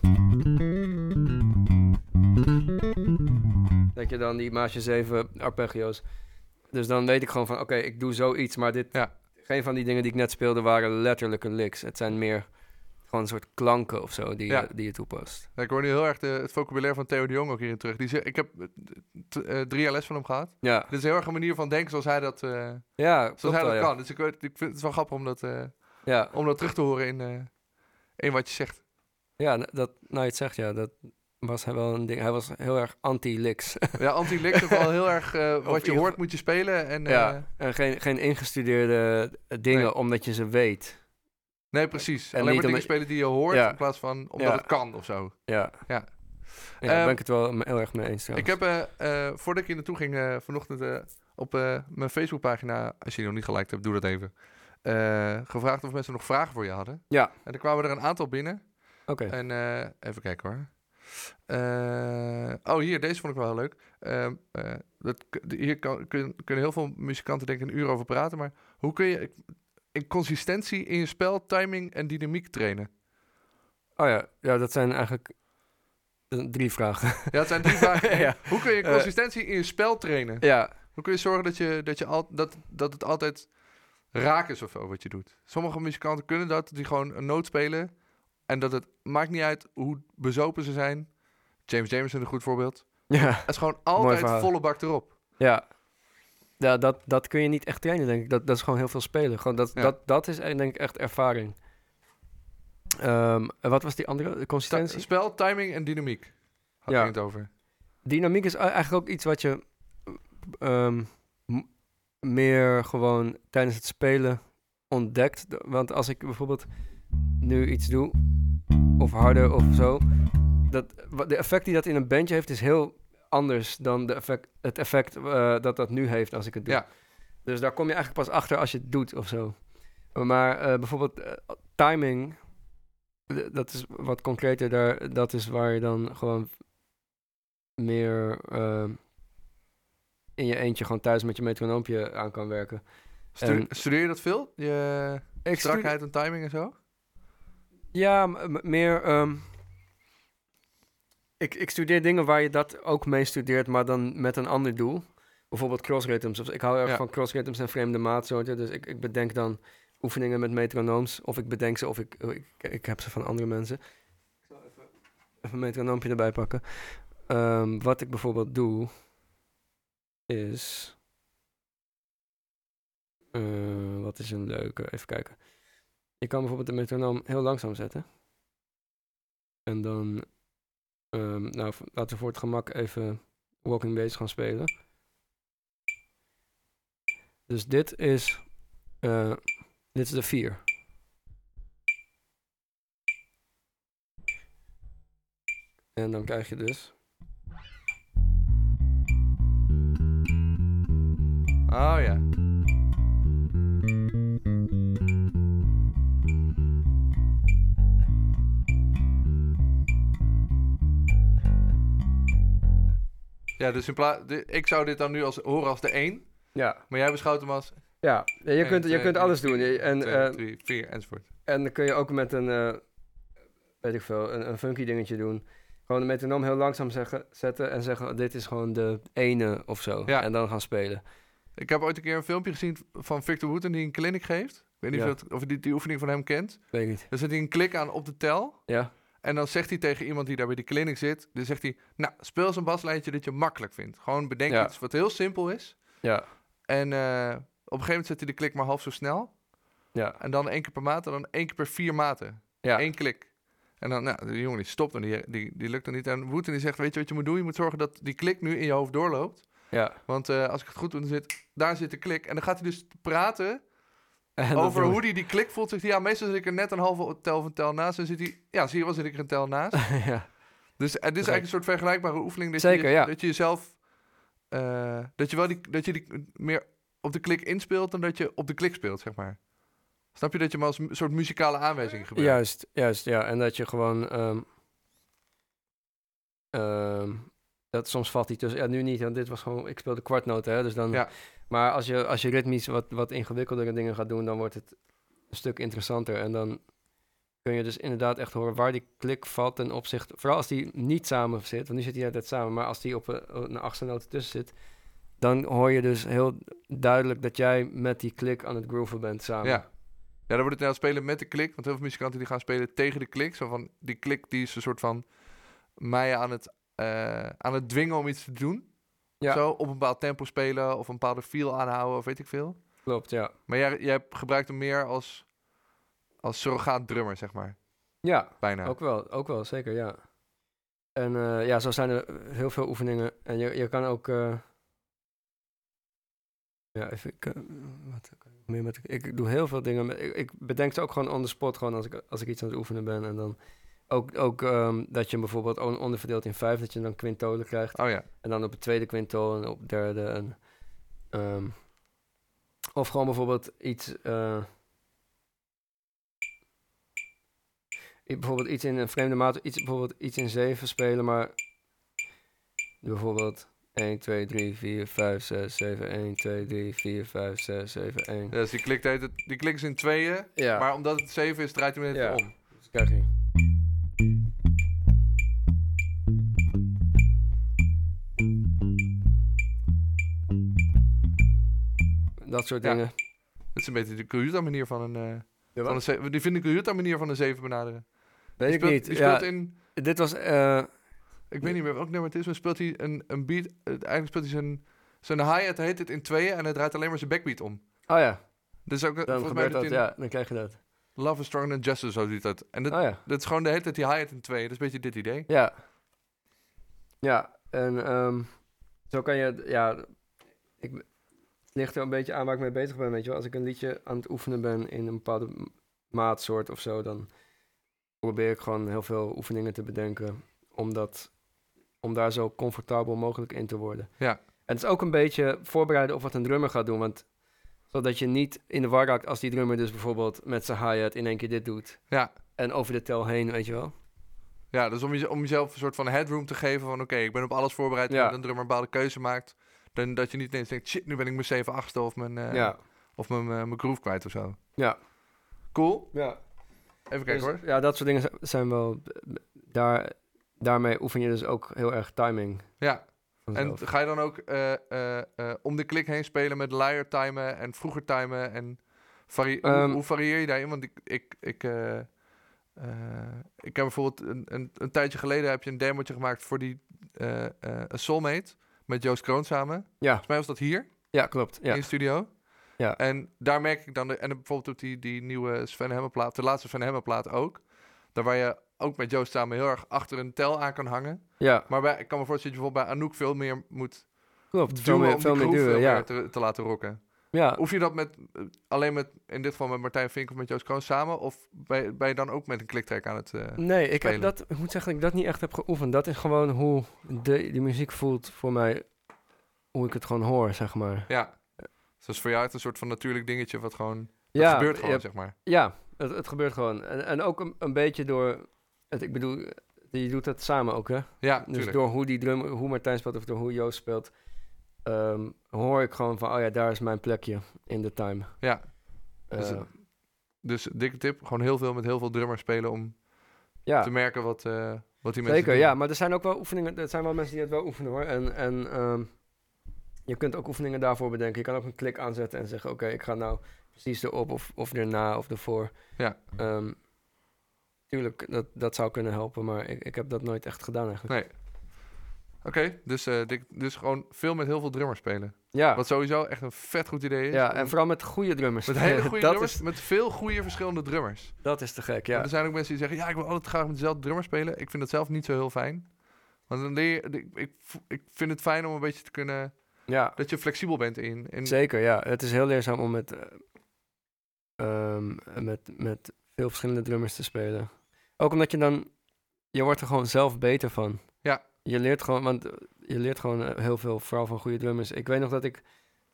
[SPEAKER 4] Dat je dan die maatje 7 arpeggio's... Dus dan weet ik gewoon van, oké, ik doe zoiets, maar dit...
[SPEAKER 3] Ja.
[SPEAKER 4] Geen van die dingen die ik net speelde waren letterlijke licks. Het zijn meer gewoon een soort klanken of zo die,
[SPEAKER 3] Ja.
[SPEAKER 4] je, die je toepast.
[SPEAKER 3] Ja, Ik hoor nu heel erg de- het vocabulaire van Theo de Jong ook hierin terug. Die, ze- ik heb eh, t- eh, drie jaar les van hem gehad.
[SPEAKER 4] Ja,
[SPEAKER 3] Dit is heel erg een manier van denken zoals hij dat, eh,
[SPEAKER 4] ja klopt
[SPEAKER 3] zoals hij
[SPEAKER 4] wel,
[SPEAKER 3] dat
[SPEAKER 4] ja.
[SPEAKER 3] kan. Dus ik, weet- ik vind het wel grappig om dat, eh,
[SPEAKER 4] Ja,
[SPEAKER 3] om dat terug te horen in, eh, in wat je zegt.
[SPEAKER 4] ja n- dat, nou je het zegt, ja, dat was hij wel een ding. Hij was heel erg anti-licks.
[SPEAKER 3] Ja, anti-lik is wel heel erg eh, wat je
[SPEAKER 4] ieder
[SPEAKER 3] hoort moet je spelen. En, eh,
[SPEAKER 4] Ja. en geen, geen ingestudeerde eh, dingen,
[SPEAKER 3] Nee.
[SPEAKER 4] omdat je ze weet.
[SPEAKER 3] Nee, precies.
[SPEAKER 4] En
[SPEAKER 3] Alleen maar
[SPEAKER 4] niet
[SPEAKER 3] dingen
[SPEAKER 4] omdat-
[SPEAKER 3] spelen die je hoort
[SPEAKER 4] Ja.
[SPEAKER 3] in plaats van omdat
[SPEAKER 4] Ja.
[SPEAKER 3] het kan of zo.
[SPEAKER 4] Ja.
[SPEAKER 3] Ja.
[SPEAKER 4] Ja, daar
[SPEAKER 3] Ehm,
[SPEAKER 4] ben ik het wel me- heel erg mee eens
[SPEAKER 3] Ik
[SPEAKER 4] trouwens.
[SPEAKER 3] heb, eh, eh, voordat ik hier naartoe ging, eh, vanochtend eh, op eh, mijn Facebookpagina, als je die nog niet geliked hebt, doe dat even, eh, gevraagd of mensen nog vragen voor je hadden.
[SPEAKER 4] Ja.
[SPEAKER 3] En er kwamen er een aantal binnen.
[SPEAKER 4] Oké.
[SPEAKER 3] En eh, even kijken hoor. Eh, oh, hier, deze vond ik wel heel leuk. Ehm, eh, dat, k- de- hier kan, kun- kunnen heel veel muzikanten denk ik een uur over praten, maar hoe kun je in consistentie in je spel, timing en dynamiek trainen?
[SPEAKER 4] Oh ja. ja, dat zijn eigenlijk eh, drie vragen.
[SPEAKER 3] Ja, het zijn drie vragen.
[SPEAKER 4] Ja.
[SPEAKER 3] Hoe kun je
[SPEAKER 4] Eh.
[SPEAKER 3] consistentie in je spel trainen?
[SPEAKER 4] ja,
[SPEAKER 3] Hoe kun je zorgen dat, je, dat, je al, dat, dat het altijd raak is of zo wat je doet? Sommige muzikanten kunnen dat, die gewoon een noot spelen. En dat het maakt niet uit hoe bezopen ze zijn. James Jameson een goed voorbeeld.
[SPEAKER 4] ja,
[SPEAKER 3] Het is gewoon
[SPEAKER 4] Mooi
[SPEAKER 3] altijd
[SPEAKER 4] verhaal.
[SPEAKER 3] volle bak erop.
[SPEAKER 4] ja. Ja, dat, dat kun je niet echt trainen, denk ik. Dat, dat is gewoon heel veel spelen. Gewoon dat,
[SPEAKER 3] Ja.
[SPEAKER 4] dat, dat is eh, denk ik echt ervaring. Ehm, en wat was die andere? De
[SPEAKER 3] Sta-
[SPEAKER 4] Consistentie?
[SPEAKER 3] spel, timing en dynamiek. Had
[SPEAKER 4] Ja.
[SPEAKER 3] ja. het over.
[SPEAKER 4] Dynamiek is ei- eigenlijk ook iets wat je ehm, m- meer gewoon tijdens het spelen ontdekt. D- Want als ik bijvoorbeeld nu iets doe, of harder of zo, dat, wa- de effect die dat in een bandje heeft is heel anders dan de effect, het effect eh, dat dat nu heeft als ik het doe.
[SPEAKER 3] Ja.
[SPEAKER 4] Dus daar kom je eigenlijk pas achter als je het doet of zo. Maar eh, bijvoorbeeld eh, timing, d- dat is wat concreter. Daar, dat is waar je dan gewoon meer ehm, in je enormje gewoon thuis met je metronoompje aan kan werken.
[SPEAKER 3] Stu-
[SPEAKER 4] En-
[SPEAKER 3] Studeer je dat veel? Je
[SPEAKER 4] Ik
[SPEAKER 3] strakheid en timing en zo?
[SPEAKER 4] Ja, m- m- meer. ehm, ik, ik studeer dingen waar je dat ook mee studeert, maar dan met een ander doel. Bijvoorbeeld crossrhythms. of- Ik hou erg
[SPEAKER 3] Ja.
[SPEAKER 4] van crossrhythms en vreemde maatsoorten. Dus ik, ik bedenk dan oefeningen met metronooms. Of ik bedenk ze of ik, oh, ik, ik heb ze van andere mensen. Ik zal even, even een metronoompje erbij pakken. Ehm, wat ik bijvoorbeeld doe is. eh, wat is een leuke? Even kijken. Je kan bijvoorbeeld de metronoom heel langzaam zetten. En dan, ehm, nou, v- laten we voor het gemak even Walking Bass gaan spelen. Dus dit is, eh, dit is de 4. En dan krijg je dus,
[SPEAKER 3] Oh ja. Ja, dus in plaats. Ik zou dit dan nu als, horen als de 1,
[SPEAKER 4] ja,
[SPEAKER 3] maar jij beschouwt hem als.
[SPEAKER 4] ja. je,
[SPEAKER 3] één,
[SPEAKER 4] kunt, je
[SPEAKER 3] twee,
[SPEAKER 4] kunt
[SPEAKER 3] drie,
[SPEAKER 4] alles doen. Je- En,
[SPEAKER 3] twee,
[SPEAKER 4] eh,
[SPEAKER 3] drie, vier, enzovoort.
[SPEAKER 4] En dan kun je ook met een, eh, weet ik veel, een, een funky dingetje doen. Gewoon de metronoom heel langzaam zeggen, zetten en zeggen, oh, dit is gewoon de ene of zo.
[SPEAKER 3] Ja.
[SPEAKER 4] En dan gaan spelen.
[SPEAKER 3] Ik heb ooit een keer een filmpje gezien van Victor Wooten die een clinic geeft. Ik weet niet
[SPEAKER 4] Ja.
[SPEAKER 3] of, dat, of je die, die oefening van hem kent.
[SPEAKER 4] Weet ik niet.
[SPEAKER 3] Dan zet hij een klik aan op de tel.
[SPEAKER 4] Ja?
[SPEAKER 3] En dan zegt hij tegen iemand die daar bij die clinic zit, dan zegt hij, nou, speel eens een baslijntje dat je makkelijk vindt. Gewoon bedenk
[SPEAKER 4] Ja.
[SPEAKER 3] iets wat heel simpel is.
[SPEAKER 4] Ja.
[SPEAKER 3] En eh, op een gegeven moment zet hij de klik maar half zo snel.
[SPEAKER 4] Ja.
[SPEAKER 3] En dan één keer per maat en dan één keer per vier maten.
[SPEAKER 4] Ja.
[SPEAKER 3] Eén klik. En dan, nou, die jongen die stopt en die, die, die lukt dan niet. En Wooten die zegt, weet je wat je moet doen? Je moet zorgen dat die klik nu in je hoofd doorloopt.
[SPEAKER 4] ja.
[SPEAKER 3] Want eh, als ik het goed doe, dan zit daar zit de klik. En dan gaat hij dus praten
[SPEAKER 4] En dat
[SPEAKER 3] over
[SPEAKER 4] doen we.
[SPEAKER 3] hoe hij die klik voelt. Zegt hij, ja, meestal zit ik er net een halve tel van tel naast. En zit hij, ja, zie je wel, zit ik er een tel naast.
[SPEAKER 4] ja.
[SPEAKER 3] Dus het is eigenlijk een soort vergelijkbare oefening. Dat
[SPEAKER 4] Zeker,
[SPEAKER 3] je,
[SPEAKER 4] ja.
[SPEAKER 3] Dat je jezelf... eh, dat je wel die, dat je die meer op de klik inspeelt dan dat je op de klik speelt, zeg maar. Snap je dat je hem als een soort muzikale aanwijzing gebruikt?
[SPEAKER 4] Juist, juist, ja. En dat je gewoon, ehm, ehm, dat soms valt hij tussen. Ja, nu niet, want dit was gewoon, ik speelde kwartnoten, hè. Dus dan,
[SPEAKER 3] Ja.
[SPEAKER 4] Maar als je, als je ritmisch wat, wat ingewikkeldere dingen gaat doen, dan wordt het een stuk interessanter. En dan kun je dus inderdaad echt horen waar die klik valt ten opzichte... Vooral als die niet samen zit, want nu zit die altijd samen. Maar als die op een, een achtste noot tussen zit, dan hoor je dus heel duidelijk dat jij met die klik aan het grooven bent samen.
[SPEAKER 3] Ja. Ja, dan wordt het nou spelen met de klik. Want heel veel muzikanten die gaan spelen tegen de klik. Zo van, die klik die is een soort van mij aan het, eh, aan het dwingen om iets te doen.
[SPEAKER 4] Ja.
[SPEAKER 3] Zo, op een bepaald tempo spelen of een bepaalde feel aanhouden of weet ik veel.
[SPEAKER 4] Klopt, ja.
[SPEAKER 3] Maar jij, jij gebruikt hem meer als, als surrogaat drummer, zeg maar.
[SPEAKER 4] Ja,
[SPEAKER 3] Bijna.
[SPEAKER 4] Ook wel, ook wel, zeker, ja. En eh, ja, zo zijn er heel veel oefeningen. En je, je kan ook... eh, Ja, even, ik, eh, wat, kan ik meer met, ik doe heel veel dingen. Met, ik, ik bedenk ze ook gewoon on the spot, gewoon als ik, als ik iets aan het oefenen ben. En dan ook, ook ehm, dat je hem bijvoorbeeld on- onderverdeelt in vijf, dat je dan quintolen krijgt.
[SPEAKER 3] Oh ja.
[SPEAKER 4] En dan op het tweede quintal en op het derde. En, ehm, of gewoon bijvoorbeeld iets. eh, i- bijvoorbeeld iets in een vreemde maat. Iets, bijvoorbeeld iets in zeven spelen, maar. Bijvoorbeeld 1, 2, 3, 4, 5, 6, 7, 1, 2, 3, 4, 5, 6, 7, 1.
[SPEAKER 3] Dus die klikt, heet het- die klikt dus in tweeën.
[SPEAKER 4] Ja,
[SPEAKER 3] Maar omdat het 7 is, draait hij met
[SPEAKER 4] Ja.
[SPEAKER 3] het om.
[SPEAKER 4] dus krijg je. Dat soort
[SPEAKER 3] Ja.
[SPEAKER 4] dingen.
[SPEAKER 3] Dat is een beetje de Cuyuta manier van een. eh
[SPEAKER 4] Ja,
[SPEAKER 3] van een ze- die vind ik Cuyuta manier van een 7 benaderen.
[SPEAKER 4] Weet
[SPEAKER 3] Die
[SPEAKER 4] ik
[SPEAKER 3] speelt,
[SPEAKER 4] niet.
[SPEAKER 3] Die
[SPEAKER 4] Ja,
[SPEAKER 3] speelt in.
[SPEAKER 4] Dit was... eh,
[SPEAKER 3] Ik weet niet meer welk nummer het is, maar speelt hij een, een beat. Uiteindelijk speelt hij zijn, zijn hi-hat heet het in tweeën en hij draait alleen maar zijn backbeat om.
[SPEAKER 4] oh ja,
[SPEAKER 3] Dus ook, eh,
[SPEAKER 4] dan
[SPEAKER 3] volgens mij doet
[SPEAKER 4] gebeurt dat.
[SPEAKER 3] hij in
[SPEAKER 4] Ja, dan krijg je dat.
[SPEAKER 3] Love is Stronger Than Justice, zo ziet dat. En dat,
[SPEAKER 4] Oh ja,
[SPEAKER 3] dat is gewoon de hele tijd die hi-hat in tweeën. Dat is een beetje dit idee.
[SPEAKER 4] ja. Ja, en ehm, zo kan je... Ja, ik, het ligt er een beetje aan waar ik mee bezig ben, weet je wel. Als ik een liedje aan het oefenen ben in een bepaalde m- maatsoort of zo, dan probeer ik gewoon heel veel oefeningen te bedenken om, dat, om daar zo comfortabel mogelijk in te worden.
[SPEAKER 3] Ja.
[SPEAKER 4] En het is ook een beetje voorbereiden op wat een drummer gaat doen, want zodat je niet in de war raakt als die drummer dus bijvoorbeeld met zijn hi-hat in één keer dit doet.
[SPEAKER 3] Ja.
[SPEAKER 4] En over de tel heen, weet je wel.
[SPEAKER 3] Ja, dus om, je, om jezelf een soort van headroom te geven van... oké, ik ben op alles voorbereid
[SPEAKER 4] Ja.
[SPEAKER 3] en een drummer een bepaalde keuze maakt... dan dat je niet ineens denkt, shit, nu ben ik mijn 7 8 of mijn, eh,
[SPEAKER 4] ja.
[SPEAKER 3] of mijn, eh, mijn groove kwijt of zo.
[SPEAKER 4] Ja. Dus-
[SPEAKER 3] Cool.
[SPEAKER 4] ja.
[SPEAKER 3] Even kijken hoor.
[SPEAKER 4] Ja, dat soort dingen zi- zijn wel... Daar, daarmee oefen je dus ook heel erg timing.
[SPEAKER 3] Ja, en
[SPEAKER 4] vanzelf.
[SPEAKER 3] ga je dan ook eh, eh, eh, om de klik heen spelen met liar timen en vroeger timen? En varie- hoe-
[SPEAKER 4] Ehm.
[SPEAKER 3] hoe, varieer je daarin? Want ik, ik, ik, eh, eh, ik heb bijvoorbeeld een, een, een tijdje geleden heb je een demotje gemaakt voor die eh eh, A Soulmate met Joost Kroon samen.
[SPEAKER 4] ja.
[SPEAKER 3] Volgens mij was dat hier
[SPEAKER 4] ja, klopt. Ja.
[SPEAKER 3] in de studio.
[SPEAKER 4] Ja.
[SPEAKER 3] En daar merk ik dan, de, en dan bijvoorbeeld op die, die nieuwe Sven Hemmen plaat, de laatste Sven Hemmen plaat ook. Daar waar je ook met Joost samen heel erg achter een tel aan kan hangen.
[SPEAKER 4] ja,
[SPEAKER 3] Maar bij, ik kan me voorstellen dat je bijvoorbeeld bij Anouk veel meer moet
[SPEAKER 4] klopt. Veel meer,
[SPEAKER 3] om
[SPEAKER 4] veel
[SPEAKER 3] die
[SPEAKER 4] meer
[SPEAKER 3] groove
[SPEAKER 4] duwen,
[SPEAKER 3] veel
[SPEAKER 4] ja.
[SPEAKER 3] meer te, te laten rocken.
[SPEAKER 4] Ja,
[SPEAKER 3] Of je dat met, eh, alleen met, in dit geval met Martijn Vink of met Joost Kroon samen, of ben, ben je dan ook met een kliktrek aan het... eh,
[SPEAKER 4] Nee, ik, heb
[SPEAKER 3] spelen.
[SPEAKER 4] dat, ik moet zeggen dat ik dat niet echt heb geoefend. Dat is gewoon hoe de, die muziek voelt voor mij. Hoe ik het gewoon hoor, zeg maar.
[SPEAKER 3] ja. Dus dat is voor jou echt een soort van natuurlijk dingetje wat gewoon... Dat
[SPEAKER 4] ja,
[SPEAKER 3] gebeurt gewoon,
[SPEAKER 4] ja,
[SPEAKER 3] zeg maar.
[SPEAKER 4] Ja, het, het gebeurt gewoon. En, en ook een, een beetje door... Het, ik bedoel, je doet dat samen ook, hè?
[SPEAKER 3] Ja,
[SPEAKER 4] Dus
[SPEAKER 3] tuurlijk.
[SPEAKER 4] door hoe, die drum, hoe Martijn speelt of door hoe Joost speelt... ehm, hoor ik gewoon van, oh ja, daar is mijn plekje in de time.
[SPEAKER 3] Ja.
[SPEAKER 4] Eh,
[SPEAKER 3] Dus- Dus dikke tip, gewoon heel veel met heel veel drummers spelen om
[SPEAKER 4] ja.
[SPEAKER 3] te merken wat, eh, wat die mensen
[SPEAKER 4] Zeker,
[SPEAKER 3] doen.
[SPEAKER 4] ja. Maar er zijn ook wel oefeningen. Er zijn wel mensen die het wel oefenen hoor. En, en ehm, je kunt ook oefeningen daarvoor bedenken. Je kan ook een klik aanzetten en zeggen: Oké, ik ga nou precies erop of, of erna of ervoor.
[SPEAKER 3] Ja.
[SPEAKER 4] Ehm, tuurlijk, dat, dat zou kunnen helpen. Maar ik, ik heb dat nooit echt gedaan eigenlijk.
[SPEAKER 3] Nee. Oké, dus, eh, dik- dus gewoon veel met heel veel drummers spelen.
[SPEAKER 4] Ja,
[SPEAKER 3] Wat sowieso echt een vet goed idee is.
[SPEAKER 4] ja,
[SPEAKER 3] om-
[SPEAKER 4] en vooral met goede drummers.
[SPEAKER 3] Met hele goede
[SPEAKER 4] dat
[SPEAKER 3] drummers,
[SPEAKER 4] Is,
[SPEAKER 3] met veel goede verschillende drummers.
[SPEAKER 4] dat is te gek,
[SPEAKER 3] Want
[SPEAKER 4] ja.
[SPEAKER 3] er zijn ook mensen die zeggen, ja, ik wil altijd graag met dezelfde drummer spelen. Ik vind dat zelf niet zo heel fijn. Want dan leer je, ik, ik, v- ik vind het fijn om een beetje te kunnen,
[SPEAKER 4] Ja,
[SPEAKER 3] dat je flexibel bent in. in
[SPEAKER 4] zeker, ja. Het is heel leerzaam om met, eh, ehm, met, met veel verschillende drummers te spelen. Ook omdat je dan, je wordt er gewoon zelf beter van.
[SPEAKER 3] Ja.
[SPEAKER 4] Je leert gewoon, want eh, je leert gewoon eh, heel veel, vooral van goede drummers. Ik weet nog dat ik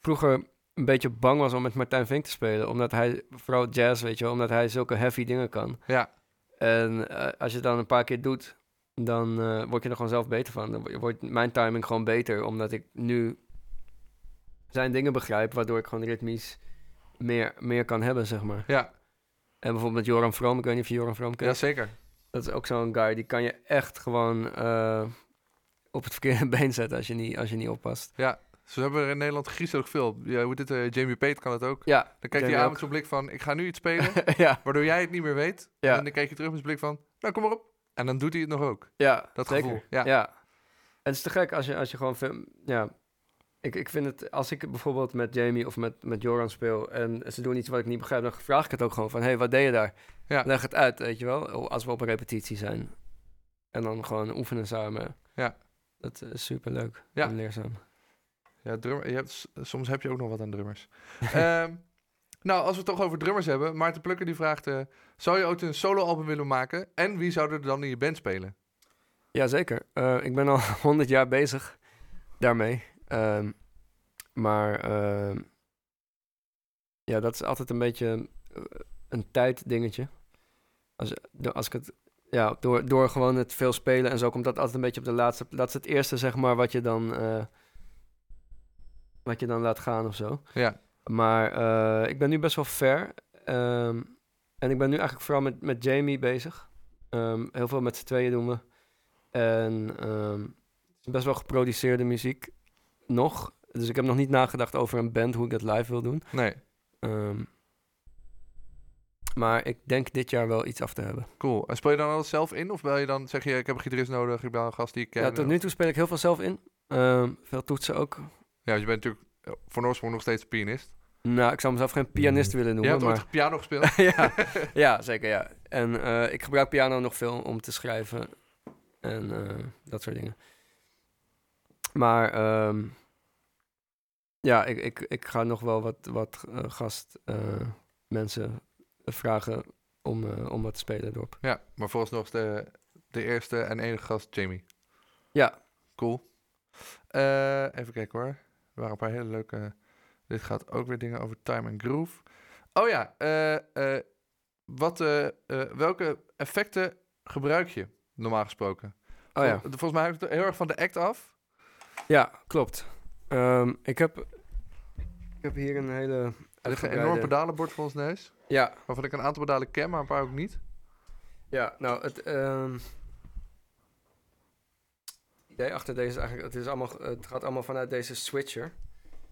[SPEAKER 4] vroeger een beetje bang was om met Martijn Vink te spelen. Omdat hij, vooral jazz, weet je wel, omdat hij zulke heavy dingen kan.
[SPEAKER 3] Ja.
[SPEAKER 4] En eh, als je het dan een paar keer doet, dan eh, word je er gewoon zelf beter van. Dan wo- wordt mijn timing gewoon beter, omdat ik nu zijn dingen begrijp, waardoor ik gewoon ritmisch meer, meer kan hebben, zeg maar.
[SPEAKER 3] ja,
[SPEAKER 4] En bijvoorbeeld met Joram Vroom, ik weet niet of je Joram Vroom kent.
[SPEAKER 3] ja, zeker.
[SPEAKER 4] Dat is ook zo'n guy, die kan je echt gewoon eh, op het verkeerde been zetten als je niet, als je niet oppast.
[SPEAKER 3] Zo hebben we er in Nederland Gries ook veel. Ja, hoe dit, eh, Jamie Pate kan het ook.
[SPEAKER 4] Ja,
[SPEAKER 3] Dan kijkt
[SPEAKER 4] Jamie
[SPEAKER 3] hij aan
[SPEAKER 4] ook.
[SPEAKER 3] met zo'n blik van, ik ga nu iets spelen,
[SPEAKER 4] ja,
[SPEAKER 3] waardoor jij het niet meer weet.
[SPEAKER 4] Ja.
[SPEAKER 3] En dan kijk je terug met zo'n blik van, nou kom maar op. En dan doet hij het nog ook.
[SPEAKER 4] ja.
[SPEAKER 3] Dat
[SPEAKER 4] zeker.
[SPEAKER 3] gevoel, ja.
[SPEAKER 4] En het is te gek als je, als je gewoon... veel- Ja, ik, ik vind het... Als ik bijvoorbeeld met Jamie of met, met Joran speel... en ze doen iets wat ik niet begrijp... dan vraag ik het ook gewoon van... hey, wat deed je daar?
[SPEAKER 3] Ja.
[SPEAKER 4] Leg het uit, weet je wel? Als we op een repetitie zijn. En dan gewoon oefenen samen.
[SPEAKER 3] Ja.
[SPEAKER 4] Dat is superleuk
[SPEAKER 3] Ja.
[SPEAKER 4] en leerzaam.
[SPEAKER 3] Ja, drummer, je hebt, s- soms heb je ook nog wat aan drummers. Ehm, nou, als we het toch over drummers hebben. Maarten Plukker die vraagt... eh, zou je ooit een soloalbum willen maken? En wie zou er dan in je band spelen?
[SPEAKER 4] Jazeker. Eh ik ben al 100 jaar bezig daarmee. Ehm, maar ehm, ja, dat is altijd een beetje eh, een tijddingetje. Als, do- als ik het, ja, door, door gewoon het veel spelen en zo komt dat altijd een beetje op de laatste. Dat is het eerste, zeg maar, wat je dan, eh, wat je dan laat gaan of zo.
[SPEAKER 3] Ja.
[SPEAKER 4] Maar eh, ik ben nu best wel ver. Ehm, en ik ben nu eigenlijk vooral met, met Jamie bezig. Ehm, heel veel met z'n tweeën doen we. En ehm, het is best wel geproduceerde muziek nog. Dus ik heb nog niet nagedacht over een band, hoe ik dat live wil doen.
[SPEAKER 3] Nee,
[SPEAKER 4] Ehm, maar ik denk dit jaar wel iets af te hebben.
[SPEAKER 3] cool. En speel je dan alles zelf in? Of bel je dan, zeg je, ik heb een gitarist nodig, ik ben een gast die ik ken?
[SPEAKER 4] Ja, tot nu toe speel ik heel veel zelf in. Ehm, veel toetsen ook.
[SPEAKER 3] Ja, want je bent natuurlijk eh, van oorsprong nog steeds pianist.
[SPEAKER 4] Nou, ik zou mezelf geen pianist willen
[SPEAKER 3] Je
[SPEAKER 4] noemen.
[SPEAKER 3] hebt
[SPEAKER 4] maar...
[SPEAKER 3] ooit piano gespeeld?
[SPEAKER 4] ja, ja, zeker ja. En eh, ik gebruik piano nog veel om te schrijven en eh, dat soort dingen. Maar ehm, ja, ik, ik, ik ga nog wel wat, wat eh, gast eh, mensen vragen om, eh, om wat te spelen erop.
[SPEAKER 3] Ja, maar vooralsnog is de, de eerste en enige gast Jamie.
[SPEAKER 4] Ja.
[SPEAKER 3] Cool. Eh, even kijken hoor. Er waren een paar hele leuke... Dit gaat ook weer dingen over time en groove. Oh ja, eh, eh, wat, eh, eh, welke effecten gebruik je normaal gesproken?
[SPEAKER 4] Oh ja.
[SPEAKER 3] Vol- volgens mij hangt het heel erg van de act af.
[SPEAKER 4] Ja, klopt. Ehm, ik, heb, ik heb hier een hele...
[SPEAKER 3] Er ligt een enorm
[SPEAKER 4] uitgebreide-
[SPEAKER 3] pedalenbord voor ons neus.
[SPEAKER 4] Ja,
[SPEAKER 3] Waarvan ik een aantal pedalen ken, maar een paar ook niet.
[SPEAKER 4] Ja, nou, het ehm, idee achter deze is eigenlijk, het, is allemaal, het gaat allemaal vanuit deze switcher.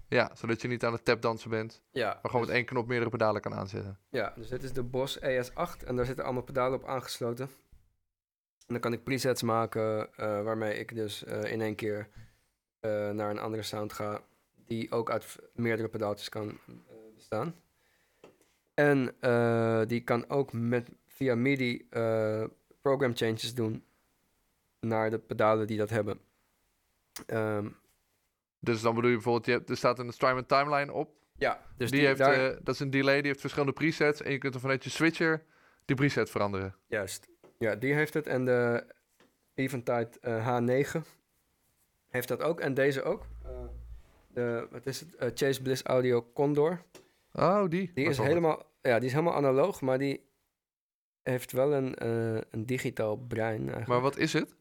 [SPEAKER 3] Ja, zodat je niet aan het tapdansen bent.
[SPEAKER 4] Ja,
[SPEAKER 3] Maar gewoon met één knop meerdere pedalen kan aanzetten.
[SPEAKER 4] ja, dus dit is de Boss ES8 en daar zitten allemaal pedalen op aangesloten. En dan kan ik presets maken eh, waarmee ik dus eh, in één keer eh, naar een andere sound ga, die ook uit v- meerdere pedaaltjes kan eh, bestaan. En eh, die kan ook met, via MIDI eh, program changes doen naar de pedalen die dat hebben. Ehm,
[SPEAKER 3] Dus dan bedoel je bijvoorbeeld, je hebt, er staat een Strymon timeline op.
[SPEAKER 4] ja, dus
[SPEAKER 3] die, heeft,
[SPEAKER 4] daar-
[SPEAKER 3] eh, dat is een delay, die heeft verschillende presets. En je kunt er vanuit je switcher die preset veranderen.
[SPEAKER 4] Juist. Ja, die heeft het. En de Eventide eh, H9 heeft dat ook. En deze ook. Eh, de, wat is het? Eh, Chase Bliss Audio Condor.
[SPEAKER 3] Oh, die.
[SPEAKER 4] Die
[SPEAKER 3] Waar
[SPEAKER 4] is,
[SPEAKER 3] zal
[SPEAKER 4] helemaal, ja, die is helemaal analoog, maar die heeft wel een, eh, een digitaal brein eigenlijk.
[SPEAKER 3] het? Maar wat is het?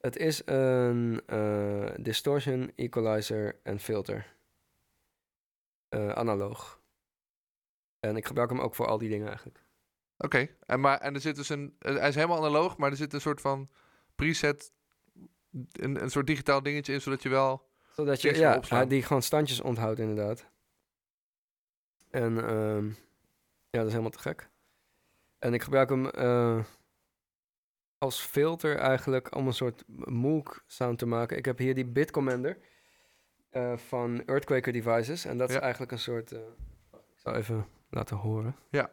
[SPEAKER 4] Het is een eh, distortion, equalizer en filter. Eh, analoog. En ik gebruik hem ook voor al die dingen eigenlijk.
[SPEAKER 3] Oké. En, maar En er zit dus een. eh, Hij is helemaal analoog, maar er zit een soort van preset. Een, een soort digitaal dingetje in, zodat je wel.
[SPEAKER 4] Zodat je
[SPEAKER 3] Niks meer
[SPEAKER 4] ja,
[SPEAKER 3] opslaan.
[SPEAKER 4] hij die gewoon standjes onthoudt inderdaad. En ehm, ja, dat is helemaal te gek. En ik gebruik hem eh, als filter eigenlijk om een soort Moog sound te maken. Ik heb hier die Bit Commander eh, van Earthquaker Devices. En dat is
[SPEAKER 3] Ja.
[SPEAKER 4] eigenlijk een soort... eh, wacht, ik zal even laten horen.
[SPEAKER 3] Ja.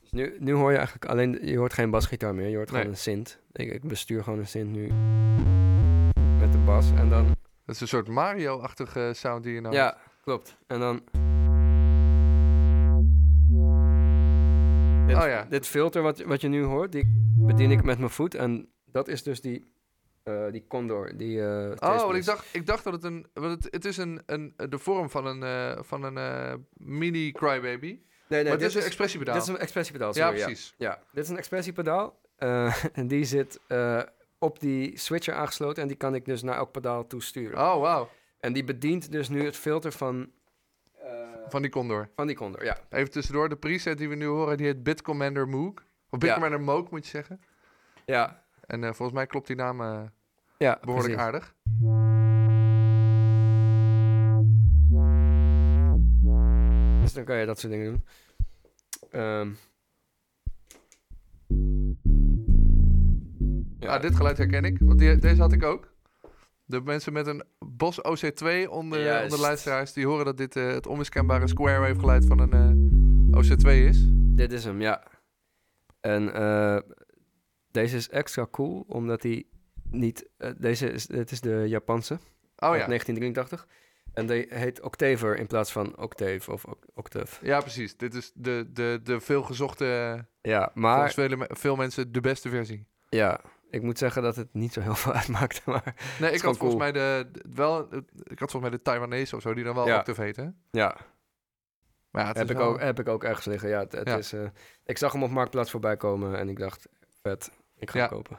[SPEAKER 4] Dus Nu, nu hoor je eigenlijk alleen, je hoort geen basgitaar meer, je hoort gewoon
[SPEAKER 3] Nee.
[SPEAKER 4] een synth. Ik, ik bestuur gewoon een synth nu met de bas en dan...
[SPEAKER 3] Dat is een soort Mario-achtige sound die je nou.
[SPEAKER 4] Ja, klopt. En dan... Dit,
[SPEAKER 3] Oh ja.
[SPEAKER 4] dit filter wat, wat je nu hoort, die bedien ik met mijn voet. En dat is dus die, eh, die Condor. Die, eh,
[SPEAKER 3] Oh, want
[SPEAKER 4] Chase
[SPEAKER 3] ik dacht, ik dacht dat het een. Want het, het is een, een, de vorm van een, eh, van een eh, mini Crybaby.
[SPEAKER 4] Bliss. Nee, nee,
[SPEAKER 3] maar het
[SPEAKER 4] dit,
[SPEAKER 3] is een expressiepedaal.
[SPEAKER 4] dit is een expressiepedaal.
[SPEAKER 3] ja,
[SPEAKER 4] sorry,
[SPEAKER 3] precies.
[SPEAKER 4] Ja. dit is een expressiepedaal. eh, en die zit eh, op die switcher aangesloten. En die kan ik dus naar elk pedaal toe sturen.
[SPEAKER 3] Oh, wauw.
[SPEAKER 4] En die bedient dus nu het filter van, eh,
[SPEAKER 3] Van die Condor.
[SPEAKER 4] van die Condor. Ja,
[SPEAKER 3] Even tussendoor, de preset die we nu horen, die heet Bitcommander Moog. Of
[SPEAKER 4] Ja.
[SPEAKER 3] Bitcommander Moog, moet je zeggen.
[SPEAKER 4] ja,
[SPEAKER 3] En eh, volgens mij klopt die naam eh,
[SPEAKER 4] ja
[SPEAKER 3] behoorlijk
[SPEAKER 4] precies.
[SPEAKER 3] aardig.
[SPEAKER 4] Dus dan kan je dat soort dingen doen. Ehm.
[SPEAKER 3] Ja.
[SPEAKER 4] Ah,
[SPEAKER 3] Ah, dit geluid herken ik, want die- deze had ik ook. De mensen met een Bos OC2 onder,
[SPEAKER 4] Juist.
[SPEAKER 3] onder de luisteraars, die horen dat dit eh, het onmiskenbare square wave geluid van een eh, OC2 is.
[SPEAKER 4] dit is hem, ja. En eh, deze is extra cool, omdat hij niet... eh, deze is, het is de Japanse,
[SPEAKER 3] Oh
[SPEAKER 4] uit
[SPEAKER 3] ja.
[SPEAKER 4] 1983. En die heet Octaver in plaats van Octave of Oc- Octave.
[SPEAKER 3] Ja, precies. Dit is de, de, de veelgezochte, eh,
[SPEAKER 4] Ja, maar...
[SPEAKER 3] volgens vele, me- veel mensen, de beste versie.
[SPEAKER 4] Ja, ik moet zeggen dat het niet zo heel veel uitmaakt. Maar
[SPEAKER 3] Nee, ik
[SPEAKER 4] gewoon
[SPEAKER 3] had, volgens mij de, de- wel, ik had volgens mij de Taiwanese of zo, die dan wel
[SPEAKER 4] Ja.
[SPEAKER 3] Octave heet, hè?
[SPEAKER 4] ja,
[SPEAKER 3] Maar ja, het
[SPEAKER 4] heb
[SPEAKER 3] is
[SPEAKER 4] ik,
[SPEAKER 3] wel-
[SPEAKER 4] ook, heb ik ook ergens liggen. Ja, het, het
[SPEAKER 3] Ja.
[SPEAKER 4] Is, eh, ik zag hem op Marktplaats voorbij komen en ik dacht, vet, ik ga
[SPEAKER 3] Ja.
[SPEAKER 4] hem kopen.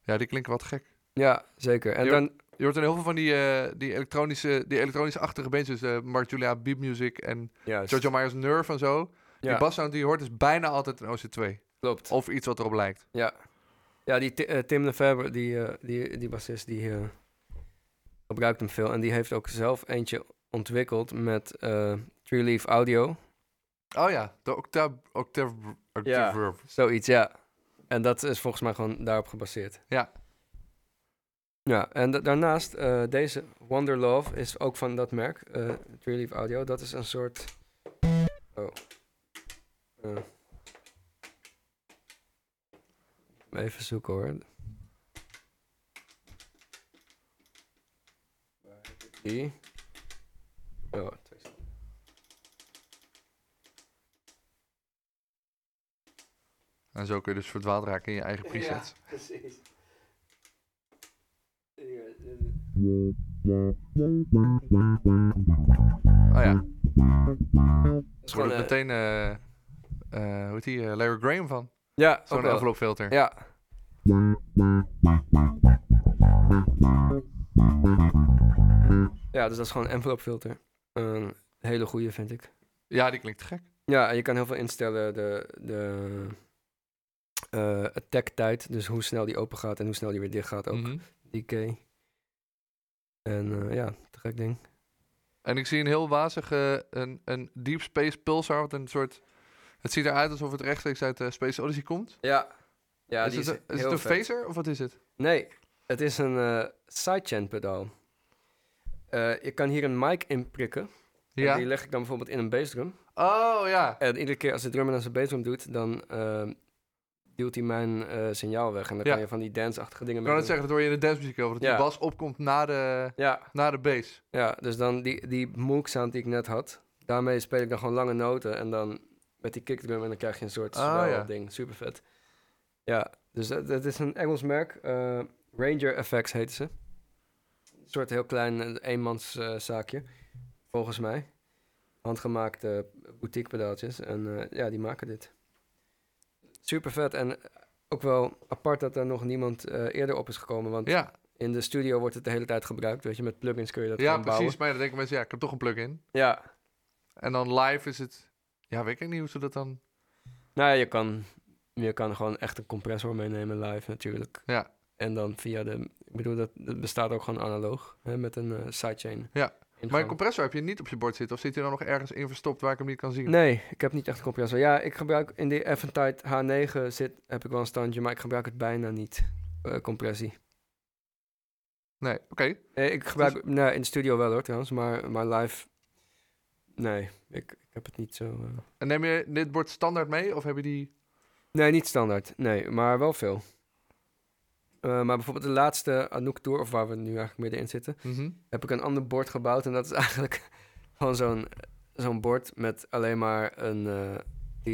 [SPEAKER 3] Ja, die klinken wat gek.
[SPEAKER 4] Ja, zeker. En
[SPEAKER 3] Jo-
[SPEAKER 4] dan,
[SPEAKER 3] Je hoort dan heel veel van die, eh, die elektronische, die elektronische-achtige bandjes, eh Mark Julia, Beat Music en
[SPEAKER 4] juist,
[SPEAKER 3] Jojo Myers Nerve en zo.
[SPEAKER 4] ja,
[SPEAKER 3] Die bassound die je hoort is bijna altijd een OC2.
[SPEAKER 4] klopt.
[SPEAKER 3] Of iets wat erop lijkt.
[SPEAKER 4] Ja, ja die Ti- eh, Tim Lefebvre, die, eh, die, die bassist, die eh, gebruikt hem veel. En die heeft ook zelf eentje ontwikkeld met eh True Leaf Audio.
[SPEAKER 3] Oh ja, de octave... octave,
[SPEAKER 4] Ja.
[SPEAKER 3] octave
[SPEAKER 4] Zoiets, ja. En dat is volgens mij gewoon daarop gebaseerd.
[SPEAKER 3] Ja.
[SPEAKER 4] Ja, en da- daarnaast eh, deze Wonder Love is ook van dat merk, eh True Leaf Audio. Dat is een soort... Oh. Eh. Even zoeken hoor. Waar heb ik Die. Oh, twee seconden.
[SPEAKER 3] En zo kun je dus verdwaald raken in je eigen presets.
[SPEAKER 4] precies.
[SPEAKER 3] Oh ja,
[SPEAKER 4] Dat is
[SPEAKER 3] dus wordt
[SPEAKER 4] gewoon
[SPEAKER 3] het
[SPEAKER 4] meteen.
[SPEAKER 3] meteen... eh eh, hoe heet die? eh, Larry Graham van.
[SPEAKER 4] Ja, ook
[SPEAKER 3] Zo'n
[SPEAKER 4] wel.
[SPEAKER 3] envelope filter.
[SPEAKER 4] Ja. Ja, dus dat is gewoon een envelope filter. Een hele goede vind ik.
[SPEAKER 3] Ja, die klinkt gek.
[SPEAKER 4] Ja, en je kan heel veel instellen. De, de eh, attack tijd, dus hoe snel die open gaat en hoe snel die weer dicht gaat ook.
[SPEAKER 3] Mhm.
[SPEAKER 4] Decay. En eh, ja, te gek ding.
[SPEAKER 3] En ik zie een heel wazige, een, een Deep Space Pulsar, wat een soort... Het ziet eruit alsof het rechtstreeks uit eh, Space Odyssey komt.
[SPEAKER 4] Ja. Ja,
[SPEAKER 3] is, het, een- is het een phaser of wat is het?
[SPEAKER 4] Nee, het is een eh, sidechain pedaal. Eh, je kan hier een mic in prikken. En
[SPEAKER 3] Ja.
[SPEAKER 4] Die leg ik dan bijvoorbeeld in een bassdrum. Eh,
[SPEAKER 3] Oh ja.
[SPEAKER 4] En iedere keer als de drummer naar zijn bassdrum doet, dan eh, duwt hij mijn eh, signaal weg. En dan
[SPEAKER 3] Ja.
[SPEAKER 4] kan je van die dance-achtige dingen
[SPEAKER 3] Ik kan
[SPEAKER 4] mee
[SPEAKER 3] het zeggen, dat hoor je in de dancemuziek over. Dat
[SPEAKER 4] Ja.
[SPEAKER 3] die bas opkomt na de,
[SPEAKER 4] doen. Ja,
[SPEAKER 3] na de bass.
[SPEAKER 4] ja, dus dan die, die moog sound die ik net had, daarmee speel ik dan gewoon lange noten. En dan met die kickdrum en dan krijg je een soort
[SPEAKER 3] Ah,
[SPEAKER 4] swell
[SPEAKER 3] ja.
[SPEAKER 4] ding. Super vet. Ja, dus dat, dat is een Engels merk. eh, Ranger Effects heet ze. Een soort heel klein eh, eenmans eh, zaakje, volgens mij. Handgemaakte boutique pedaaltjes. En eh, ja, die maken dit. Super vet. En ook wel apart dat er nog niemand eh, eerder op is gekomen. Want
[SPEAKER 3] Ja,
[SPEAKER 4] in de studio wordt het de hele tijd gebruikt. Weet je, met plugins kun je dat
[SPEAKER 3] ja
[SPEAKER 4] gewoon bouwen.
[SPEAKER 3] precies. Maar dan denken mensen, ja, ik heb toch een plug-in.
[SPEAKER 4] Ja,
[SPEAKER 3] En dan live is het... Ja, weet ik niet hoe ze dat dan...
[SPEAKER 4] Nou ja, je kan, je kan gewoon echt een compressor meenemen live natuurlijk.
[SPEAKER 3] Ja.
[SPEAKER 4] En dan via de... Ik bedoel, dat, dat bestaat ook gewoon analoog. Hè, met een eh, sidechain.
[SPEAKER 3] Ja. Maar een
[SPEAKER 4] ingang.
[SPEAKER 3] compressor heb je niet op je bord zitten. Of zit hij dan nog ergens in verstopt waar ik hem niet kan zien?
[SPEAKER 4] Nee, ik heb niet echt een compressor. Ja, ik gebruik in die Eventide H9 zit, heb ik wel een standje, maar ik gebruik het bijna niet, eh, compressie.
[SPEAKER 3] Nee, oké.
[SPEAKER 4] Nee, ik gebruik,
[SPEAKER 3] Dus-
[SPEAKER 4] nou, in de studio wel hoor trouwens, maar, maar live, nee, ik, ik heb het niet zo... eh.
[SPEAKER 3] En neem je dit bord standaard mee? Of heb je die...
[SPEAKER 4] Nee, niet standaard. Nee, maar wel veel. Eh, maar bijvoorbeeld de laatste Anouk Tour, of waar we nu eigenlijk middenin zitten,
[SPEAKER 3] Mhm.
[SPEAKER 4] heb ik een ander bord gebouwd. En dat is eigenlijk gewoon zo'n zo'n bord met alleen maar een eh,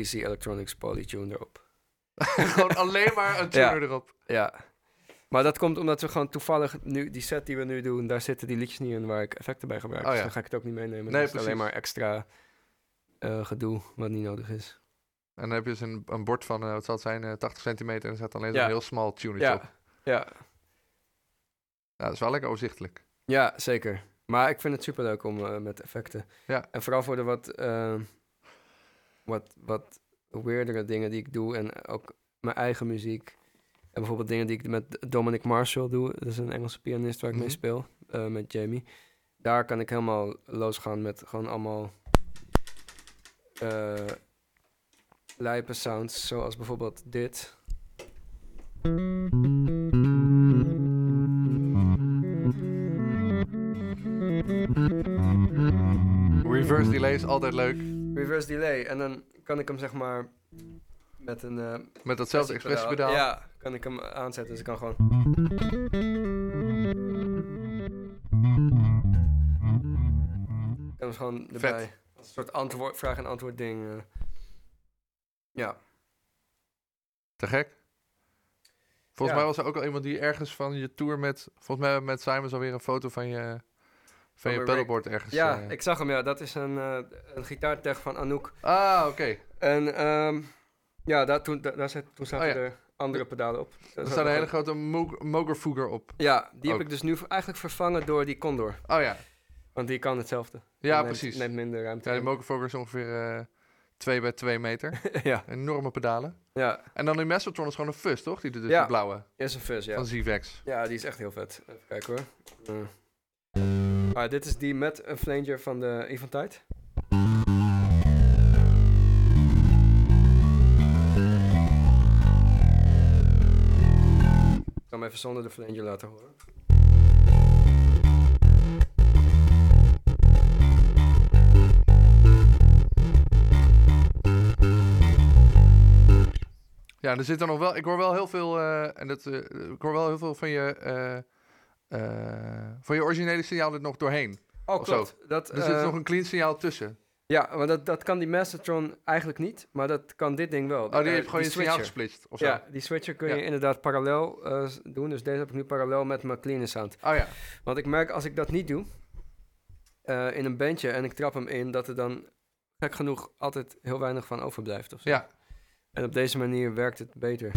[SPEAKER 4] DC Electronics Polytune erop.
[SPEAKER 3] Gewoon alleen maar een tuner
[SPEAKER 4] Ja.
[SPEAKER 3] erop.
[SPEAKER 4] Ja. Maar dat komt omdat we gewoon toevallig nu, die set die we nu doen, daar zitten die liedjes niet in waar ik effecten bij gebruik.
[SPEAKER 3] Oh
[SPEAKER 4] Dus
[SPEAKER 3] ja.
[SPEAKER 4] dan ga ik het ook niet meenemen.
[SPEAKER 3] Nee,
[SPEAKER 4] dat is alleen
[SPEAKER 3] precies.
[SPEAKER 4] maar extra eh, gedoe wat niet nodig is.
[SPEAKER 3] En dan heb je dus een, een bord van, eh, wat zal het zijn, eh, 80 centimeter. En er staat alleen zo'n
[SPEAKER 4] Ja.
[SPEAKER 3] heel smal tunetje op.
[SPEAKER 4] Ja, ja,
[SPEAKER 3] Ja, dat is wel lekker overzichtelijk.
[SPEAKER 4] Ja, zeker. Maar ik vind het superleuk om eh, met effecten.
[SPEAKER 3] Ja.
[SPEAKER 4] En vooral voor de wat, eh, wat, wat weirdere dingen die ik doe. En ook mijn eigen muziek. En bijvoorbeeld dingen die ik met Dominic Marshall doe. Dat is een Engelse pianist waar ik mee
[SPEAKER 3] Mhm.
[SPEAKER 4] speel. eh, met Jamie. Daar kan ik helemaal losgaan met gewoon allemaal... eh lijpe sounds. Zoals bijvoorbeeld dit.
[SPEAKER 3] Reverse delay is altijd leuk.
[SPEAKER 4] reverse delay. En dan kan ik hem zeg maar Met een... eh,
[SPEAKER 3] Met datzelfde
[SPEAKER 4] expressiepedaal.
[SPEAKER 3] expressiepedaal.
[SPEAKER 4] Ja, kan ik hem aanzetten, dus ik kan gewoon... Ik kan hem gewoon erbij. Als een soort antwoord, vraag- en antwoord ding. eh. Ja.
[SPEAKER 3] Te gek. Volgens mij
[SPEAKER 4] Ja.
[SPEAKER 3] was er ook al iemand die ergens van je tour met... Volgens mij hebben we met Simons alweer een foto van je, van je
[SPEAKER 4] Rick.
[SPEAKER 3] pedalboard ergens.
[SPEAKER 4] Ja,
[SPEAKER 3] eh.
[SPEAKER 4] ik zag hem, ja. Dat is een, eh een gitaartech van Anouk.
[SPEAKER 3] Ah, oké.
[SPEAKER 4] En ehm, ja, daar, toen, daar, daar zet- toen zaten
[SPEAKER 3] Oh ja.
[SPEAKER 4] er andere pedalen op.
[SPEAKER 3] Er staat een hele grote Mo- Mogerfugger op.
[SPEAKER 4] Ja, die
[SPEAKER 3] ook.
[SPEAKER 4] heb ik dus nu v- eigenlijk vervangen door die Condor.
[SPEAKER 3] Oh ja,
[SPEAKER 4] Want die kan hetzelfde. Die
[SPEAKER 3] ja
[SPEAKER 4] neemt,
[SPEAKER 3] precies.
[SPEAKER 4] Neemt minder ruimte.
[SPEAKER 3] Ja, de
[SPEAKER 4] in.
[SPEAKER 3] Mogerfugger is ongeveer eh 2 bij 2 meter.
[SPEAKER 4] ja,
[SPEAKER 3] Enorme pedalen.
[SPEAKER 4] ja.
[SPEAKER 3] En dan in Mesotron is gewoon een fus, toch? Die, de,
[SPEAKER 4] Ja.
[SPEAKER 3] de blauwe
[SPEAKER 4] Is een fuzz, ja.
[SPEAKER 3] van Zivex.
[SPEAKER 4] Ja, die is echt heel vet. Even kijken hoor. Eh. Ah, dit is die met een flanger van de Eventide. Ik zal hem even zonder de flanger laten horen.
[SPEAKER 3] Ja, er zit er nog wel... Ik hoor wel heel veel... eh, en dat, eh, ik hoor wel heel veel van je... eh, eh, van je originele signaal er nog doorheen.
[SPEAKER 4] Oh,
[SPEAKER 3] Of zo.
[SPEAKER 4] klopt. Dat,
[SPEAKER 3] Er zit
[SPEAKER 4] eh,
[SPEAKER 3] nog een clean signaal tussen. Oh,
[SPEAKER 4] Ja, maar dat, dat kan die Mastertron eigenlijk niet, maar dat kan dit ding wel.
[SPEAKER 3] Oh, die
[SPEAKER 4] Eh,
[SPEAKER 3] heeft gewoon je signaal
[SPEAKER 4] switcher.
[SPEAKER 3] gesplitst of zo.
[SPEAKER 4] Ja, die switcher kun je
[SPEAKER 3] Ja.
[SPEAKER 4] inderdaad parallel eh, s- doen. Dus deze heb ik nu parallel met mijn clean sound.
[SPEAKER 3] Oh ja.
[SPEAKER 4] Want ik merk als ik dat niet doe eh, in een bandje en ik trap hem in, dat er dan gek genoeg altijd heel weinig van overblijft. Of zo.
[SPEAKER 3] Ja.
[SPEAKER 4] En op deze manier werkt het beter.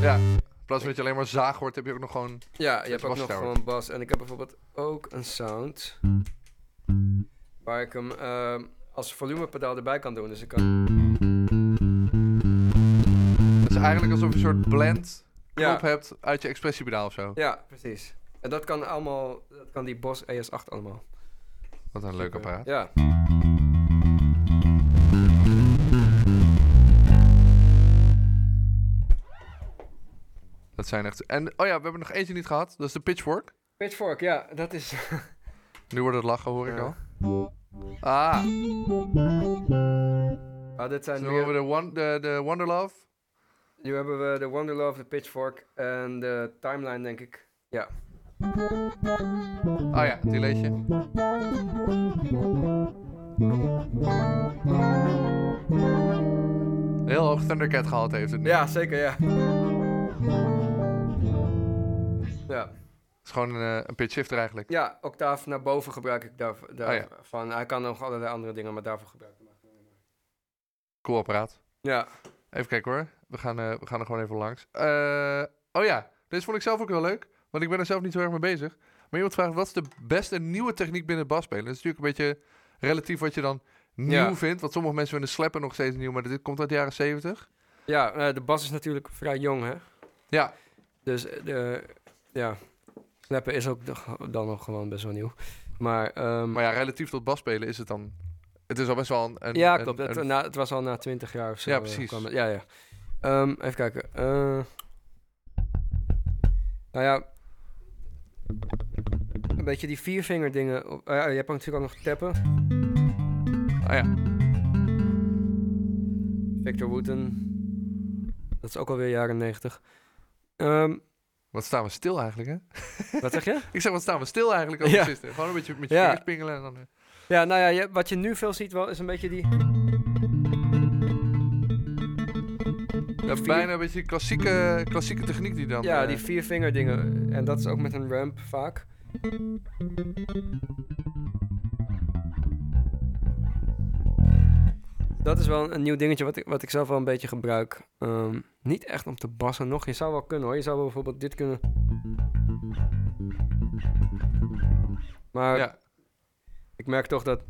[SPEAKER 3] In plaats van dat je alleen maar zaag hoort, heb je ook nog gewoon...
[SPEAKER 4] Ja, je
[SPEAKER 3] Met
[SPEAKER 4] hebt ook nog
[SPEAKER 3] bastower.
[SPEAKER 4] gewoon bas. En ik heb bijvoorbeeld ook een sound waar ik hem ehm, als volumepedaal erbij kan doen. Dus ik kan.
[SPEAKER 3] Het is eigenlijk alsof je een soort blend
[SPEAKER 4] Ja.
[SPEAKER 3] knop hebt uit je expressiepedaal of zo.
[SPEAKER 4] Ja, precies. En dat kan allemaal, dat kan die Bos ES8 allemaal.
[SPEAKER 3] Wat een leuk apparaat.
[SPEAKER 4] Ja.
[SPEAKER 3] Dat zijn echt... En, oh ja, we hebben nog eentje niet gehad. Dat is de pitchfork.
[SPEAKER 4] Pitchfork, ja, dat is.
[SPEAKER 3] Nu wordt het lachen, hoor ik
[SPEAKER 4] Ja.
[SPEAKER 3] al. Ah,
[SPEAKER 4] ah, dit zijn
[SPEAKER 3] dan hebben we
[SPEAKER 4] nu,
[SPEAKER 3] de, one, de, de Wonderlove.
[SPEAKER 4] nu hebben we de Wonderlove, de Pitchfork en de Timeline, denk ik. Ja.
[SPEAKER 3] Ah ja, die leedje. Heel hoog Thundercat gehaald heeft het nu.
[SPEAKER 4] Ja, zeker, ja. Ja,
[SPEAKER 3] Het is gewoon een, eh, een pitch shifter eigenlijk.
[SPEAKER 4] ja octaaf naar boven gebruik ik daarvan. Daar,
[SPEAKER 3] Ah,
[SPEAKER 4] van. Hij kan nog allerlei andere dingen, maar daarvoor gebruik ik hem. eigenlijk alleen
[SPEAKER 3] Cool apparaat.
[SPEAKER 4] maar. Ja.
[SPEAKER 3] Even kijken hoor. We gaan, eh, we gaan er gewoon even langs. Eh, oh ja, deze vond ik zelf ook wel leuk. Want ik ben er zelf niet zo erg mee bezig. Maar iemand vraagt, wat is de beste nieuwe techniek binnen het basspelen? Dat is natuurlijk een beetje relatief wat je dan nieuw
[SPEAKER 4] Ja.
[SPEAKER 3] vindt. Want sommige mensen vinden slappen nog steeds nieuw. Maar dit komt uit de jaren zeventig.
[SPEAKER 4] Ja, eh, de bas is natuurlijk vrij jong, hè?
[SPEAKER 3] Ja.
[SPEAKER 4] Dus eh, de, ja, snappen is ook nog- dan nog gewoon best wel nieuw. Maar, ehm,
[SPEAKER 3] Maar ja, relatief tot basspelen is het dan... Het is al best wel een... een-
[SPEAKER 4] ja,
[SPEAKER 3] een-
[SPEAKER 4] klopt. het,
[SPEAKER 3] een-
[SPEAKER 4] na, het was al na twintig jaar of zo.
[SPEAKER 3] Ja,
[SPEAKER 4] eh,
[SPEAKER 3] precies.
[SPEAKER 4] kwam het- ja, ja. Ehm, even kijken. eh. nou ja, een beetje die viervinger dingen. op- ah ja, je hebt ook natuurlijk ook nog tappen.
[SPEAKER 3] Ah ja.
[SPEAKER 4] Victor Wooten. Dat is ook alweer jaren negentig. Ehm,
[SPEAKER 3] Wat staan we stil eigenlijk, hè?
[SPEAKER 4] wat zeg je?
[SPEAKER 3] Ik zeg, wat staan we stil eigenlijk als
[SPEAKER 4] Ja.
[SPEAKER 3] bassisten? Gewoon een beetje met je
[SPEAKER 4] Ja.
[SPEAKER 3] vingers pingelen en dan... eh.
[SPEAKER 4] Ja, nou ja, je- wat je nu veel ziet wel is een beetje die...
[SPEAKER 3] Ja, bijna een beetje die klassieke, klassieke techniek die dan...
[SPEAKER 4] Ja,
[SPEAKER 3] eh,
[SPEAKER 4] die viervinger dingen. En dat is ook met een ramp vaak. Dat is wel een nieuw dingetje wat ik, wat ik zelf wel een beetje gebruik. Ehm, niet echt om te bassen nog. Je zou wel kunnen hoor. Je zou wel bijvoorbeeld dit kunnen. Maar
[SPEAKER 3] ja.
[SPEAKER 4] ik merk toch dat,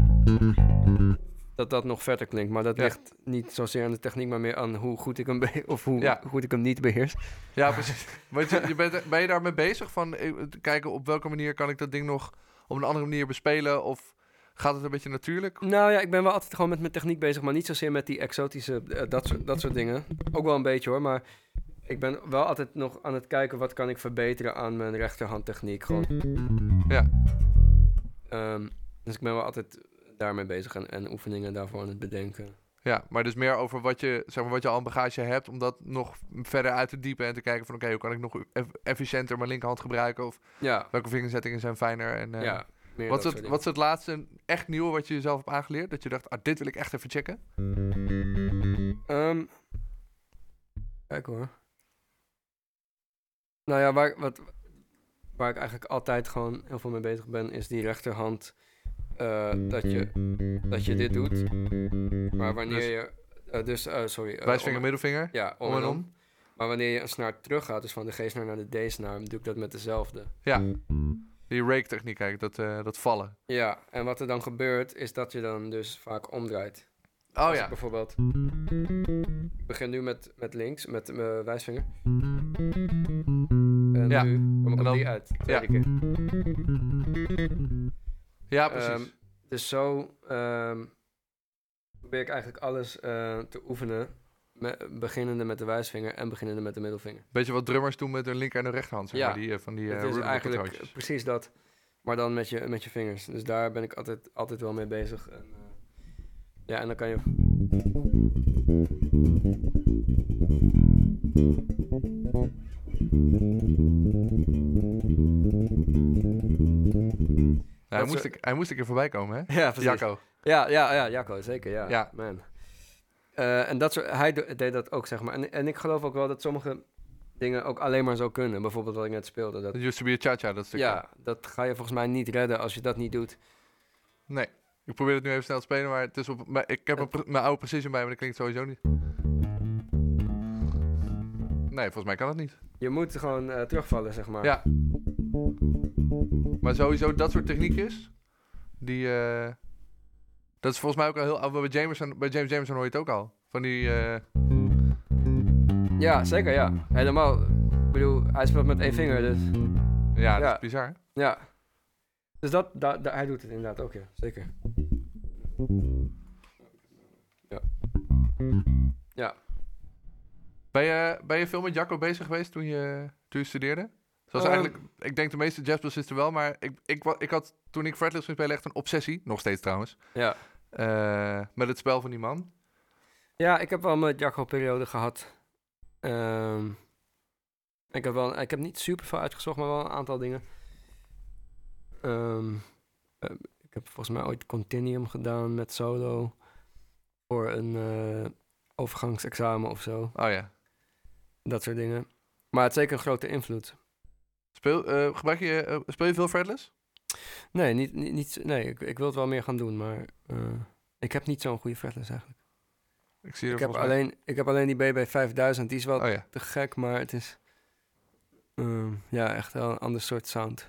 [SPEAKER 4] dat dat nog verder klinkt. Maar dat
[SPEAKER 3] Ja.
[SPEAKER 4] ligt niet zozeer aan de techniek, maar meer aan hoe goed ik hem, be- of hoe
[SPEAKER 3] Ja.
[SPEAKER 4] goed ik hem niet beheers.
[SPEAKER 3] Ja, precies. Want je, je bent, ben je daarmee bezig van eh, te kijken op welke manier kan ik dat ding nog op een andere manier bespelen? Of gaat het een beetje natuurlijk?
[SPEAKER 4] Nou ja, ik ben wel altijd gewoon met mijn techniek bezig, maar niet zozeer met die exotische, eh, dat, soort, dat soort dingen. Ook wel een beetje hoor, maar ik ben wel altijd nog aan het kijken wat kan ik verbeteren aan mijn rechterhandtechniek. Gewoon.
[SPEAKER 3] Ja.
[SPEAKER 4] Ehm, dus ik ben wel altijd daarmee bezig en, en oefeningen daarvoor aan het bedenken.
[SPEAKER 3] Ja, maar dus meer over wat je, zeg maar, wat je al een bagage hebt, om dat nog verder uit te diepen en te kijken van oké, hoe kan ik nog eff- efficiënter mijn linkerhand gebruiken of
[SPEAKER 4] Ja,
[SPEAKER 3] welke vingerzettingen zijn fijner. En, eh,
[SPEAKER 4] ja. meer
[SPEAKER 3] wat, is het,
[SPEAKER 4] dat soort
[SPEAKER 3] wat is het laatste echt nieuwe wat je jezelf hebt aangeleerd? Dat je dacht, ah, dit wil ik echt even checken?
[SPEAKER 4] Ehm kijk hoor. Nou ja, waar, wat, waar ik eigenlijk altijd gewoon heel veel mee bezig ben, is die rechterhand. eh, dat, je, dat je dit doet. Maar wanneer
[SPEAKER 3] Dus-
[SPEAKER 4] je. eh, dus, eh, sorry. eh,
[SPEAKER 3] Wijsvinger,
[SPEAKER 4] om-
[SPEAKER 3] middelvinger?
[SPEAKER 4] Ja, om,
[SPEAKER 3] om
[SPEAKER 4] en
[SPEAKER 3] en
[SPEAKER 4] om. Maar wanneer je een snaar terug gaat, dus van de G-snaar naar de D-snaar, doe ik dat met dezelfde.
[SPEAKER 3] Die rake techniek, kijk, dat, eh, dat vallen.
[SPEAKER 4] Ja, en wat er dan gebeurt, is dat je dan dus vaak omdraait.
[SPEAKER 3] Oh
[SPEAKER 4] Als
[SPEAKER 3] ja.
[SPEAKER 4] ik bijvoorbeeld. Ik begin nu met, met links, met mijn wijsvinger. En
[SPEAKER 3] Ja,
[SPEAKER 4] nu kom
[SPEAKER 3] en
[SPEAKER 4] ik op
[SPEAKER 3] dan-
[SPEAKER 4] die uit. Tweede
[SPEAKER 3] ja,
[SPEAKER 4] keer.
[SPEAKER 3] Ja, precies.
[SPEAKER 4] Ehm, dus zo ehm, probeer ik eigenlijk alles eh, te oefenen. me- beginnende met de wijsvinger en beginnende met de middelvinger.
[SPEAKER 3] Beetje wat drummers doen met hun linker en hun rechterhand. Zeg
[SPEAKER 4] Ja.
[SPEAKER 3] maar, die, eh, van die eh
[SPEAKER 4] het is
[SPEAKER 3] rhythm
[SPEAKER 4] eigenlijk
[SPEAKER 3] patroontjes.
[SPEAKER 4] precies dat, maar dan met je, met je vingers. Dus daar ben ik altijd, altijd wel mee bezig. En, eh, ja, en dan kan je.
[SPEAKER 3] Nou, hij,
[SPEAKER 4] dat
[SPEAKER 3] moest
[SPEAKER 4] ze-
[SPEAKER 3] ik, hij moest een keer voorbij komen, hè?
[SPEAKER 4] Ja, precies.
[SPEAKER 3] Jacco.
[SPEAKER 4] Ja, ja, ja, Jacco, zeker, ja.
[SPEAKER 3] Ja.
[SPEAKER 4] Man. Eh, en dat soort, hij do- deed dat ook, zeg maar. En, en ik geloof ook wel dat sommige dingen ook alleen maar zo kunnen. Bijvoorbeeld wat ik net speelde. Dat,
[SPEAKER 3] Dat used to be a cha-cha, dat stukje.
[SPEAKER 4] ja, dat ga je volgens mij niet redden als je dat niet doet.
[SPEAKER 3] Nee. Ik probeer het nu even snel te spelen, maar het is op, maar ik heb
[SPEAKER 4] Eh,
[SPEAKER 3] mijn pre- mijn oude precision bij me, dat klinkt sowieso niet. Nee, volgens mij kan het niet.
[SPEAKER 4] Je moet gewoon eh, terugvallen, zeg maar.
[SPEAKER 3] Ja. Maar sowieso dat soort techniekjes, die... eh, dat is volgens mij ook al heel... oud. Bij, Jameson, bij James Jameson hoor je het ook al. Van die... eh,
[SPEAKER 4] Ja, zeker, ja. Helemaal. Ik bedoel, hij speelt met één vinger, dus
[SPEAKER 3] ja, dat
[SPEAKER 4] Ja.
[SPEAKER 3] is bizar.
[SPEAKER 4] ja. Dus dat, da, da- hij doet het inderdaad ook, ja. Zeker. Ja. Ja.
[SPEAKER 3] Ben je, ben je veel met Jacco bezig geweest toen je, toen je studeerde? Zoals
[SPEAKER 4] Ehm.
[SPEAKER 3] eigenlijk, ik denk de meeste jazzbassisten wel, maar ik, ik, wa- ik had toen ik fretless ging spelen echt een obsessie, nog steeds trouwens,
[SPEAKER 4] Ja.
[SPEAKER 3] eh, met het spel van die man.
[SPEAKER 4] Ja, ik heb wel mijn Jacco-periode gehad. Ehm, ik, heb wel, ik heb niet super veel uitgezocht, maar wel een aantal dingen. Ehm, eh, ik heb volgens mij ooit Continuum gedaan met solo. Voor een eh, overgangsexamen of zo.
[SPEAKER 3] Oh ja.
[SPEAKER 4] Dat soort dingen. Maar het is zeker een grote invloed.
[SPEAKER 3] Speel, eh, gebruik je, eh, speel je veel fretless?
[SPEAKER 4] Nee, niet, niet, niet, nee ik, ik wil het wel meer gaan doen, maar eh, ik heb niet zo'n goede fretless eigenlijk.
[SPEAKER 3] Ik zie er
[SPEAKER 4] Ik heb,
[SPEAKER 3] volgens mij-
[SPEAKER 4] alleen, ik heb alleen die BB5000, die is wel
[SPEAKER 3] Oh ja.
[SPEAKER 4] te gek, maar het is ehm, ja, echt wel een ander soort sound.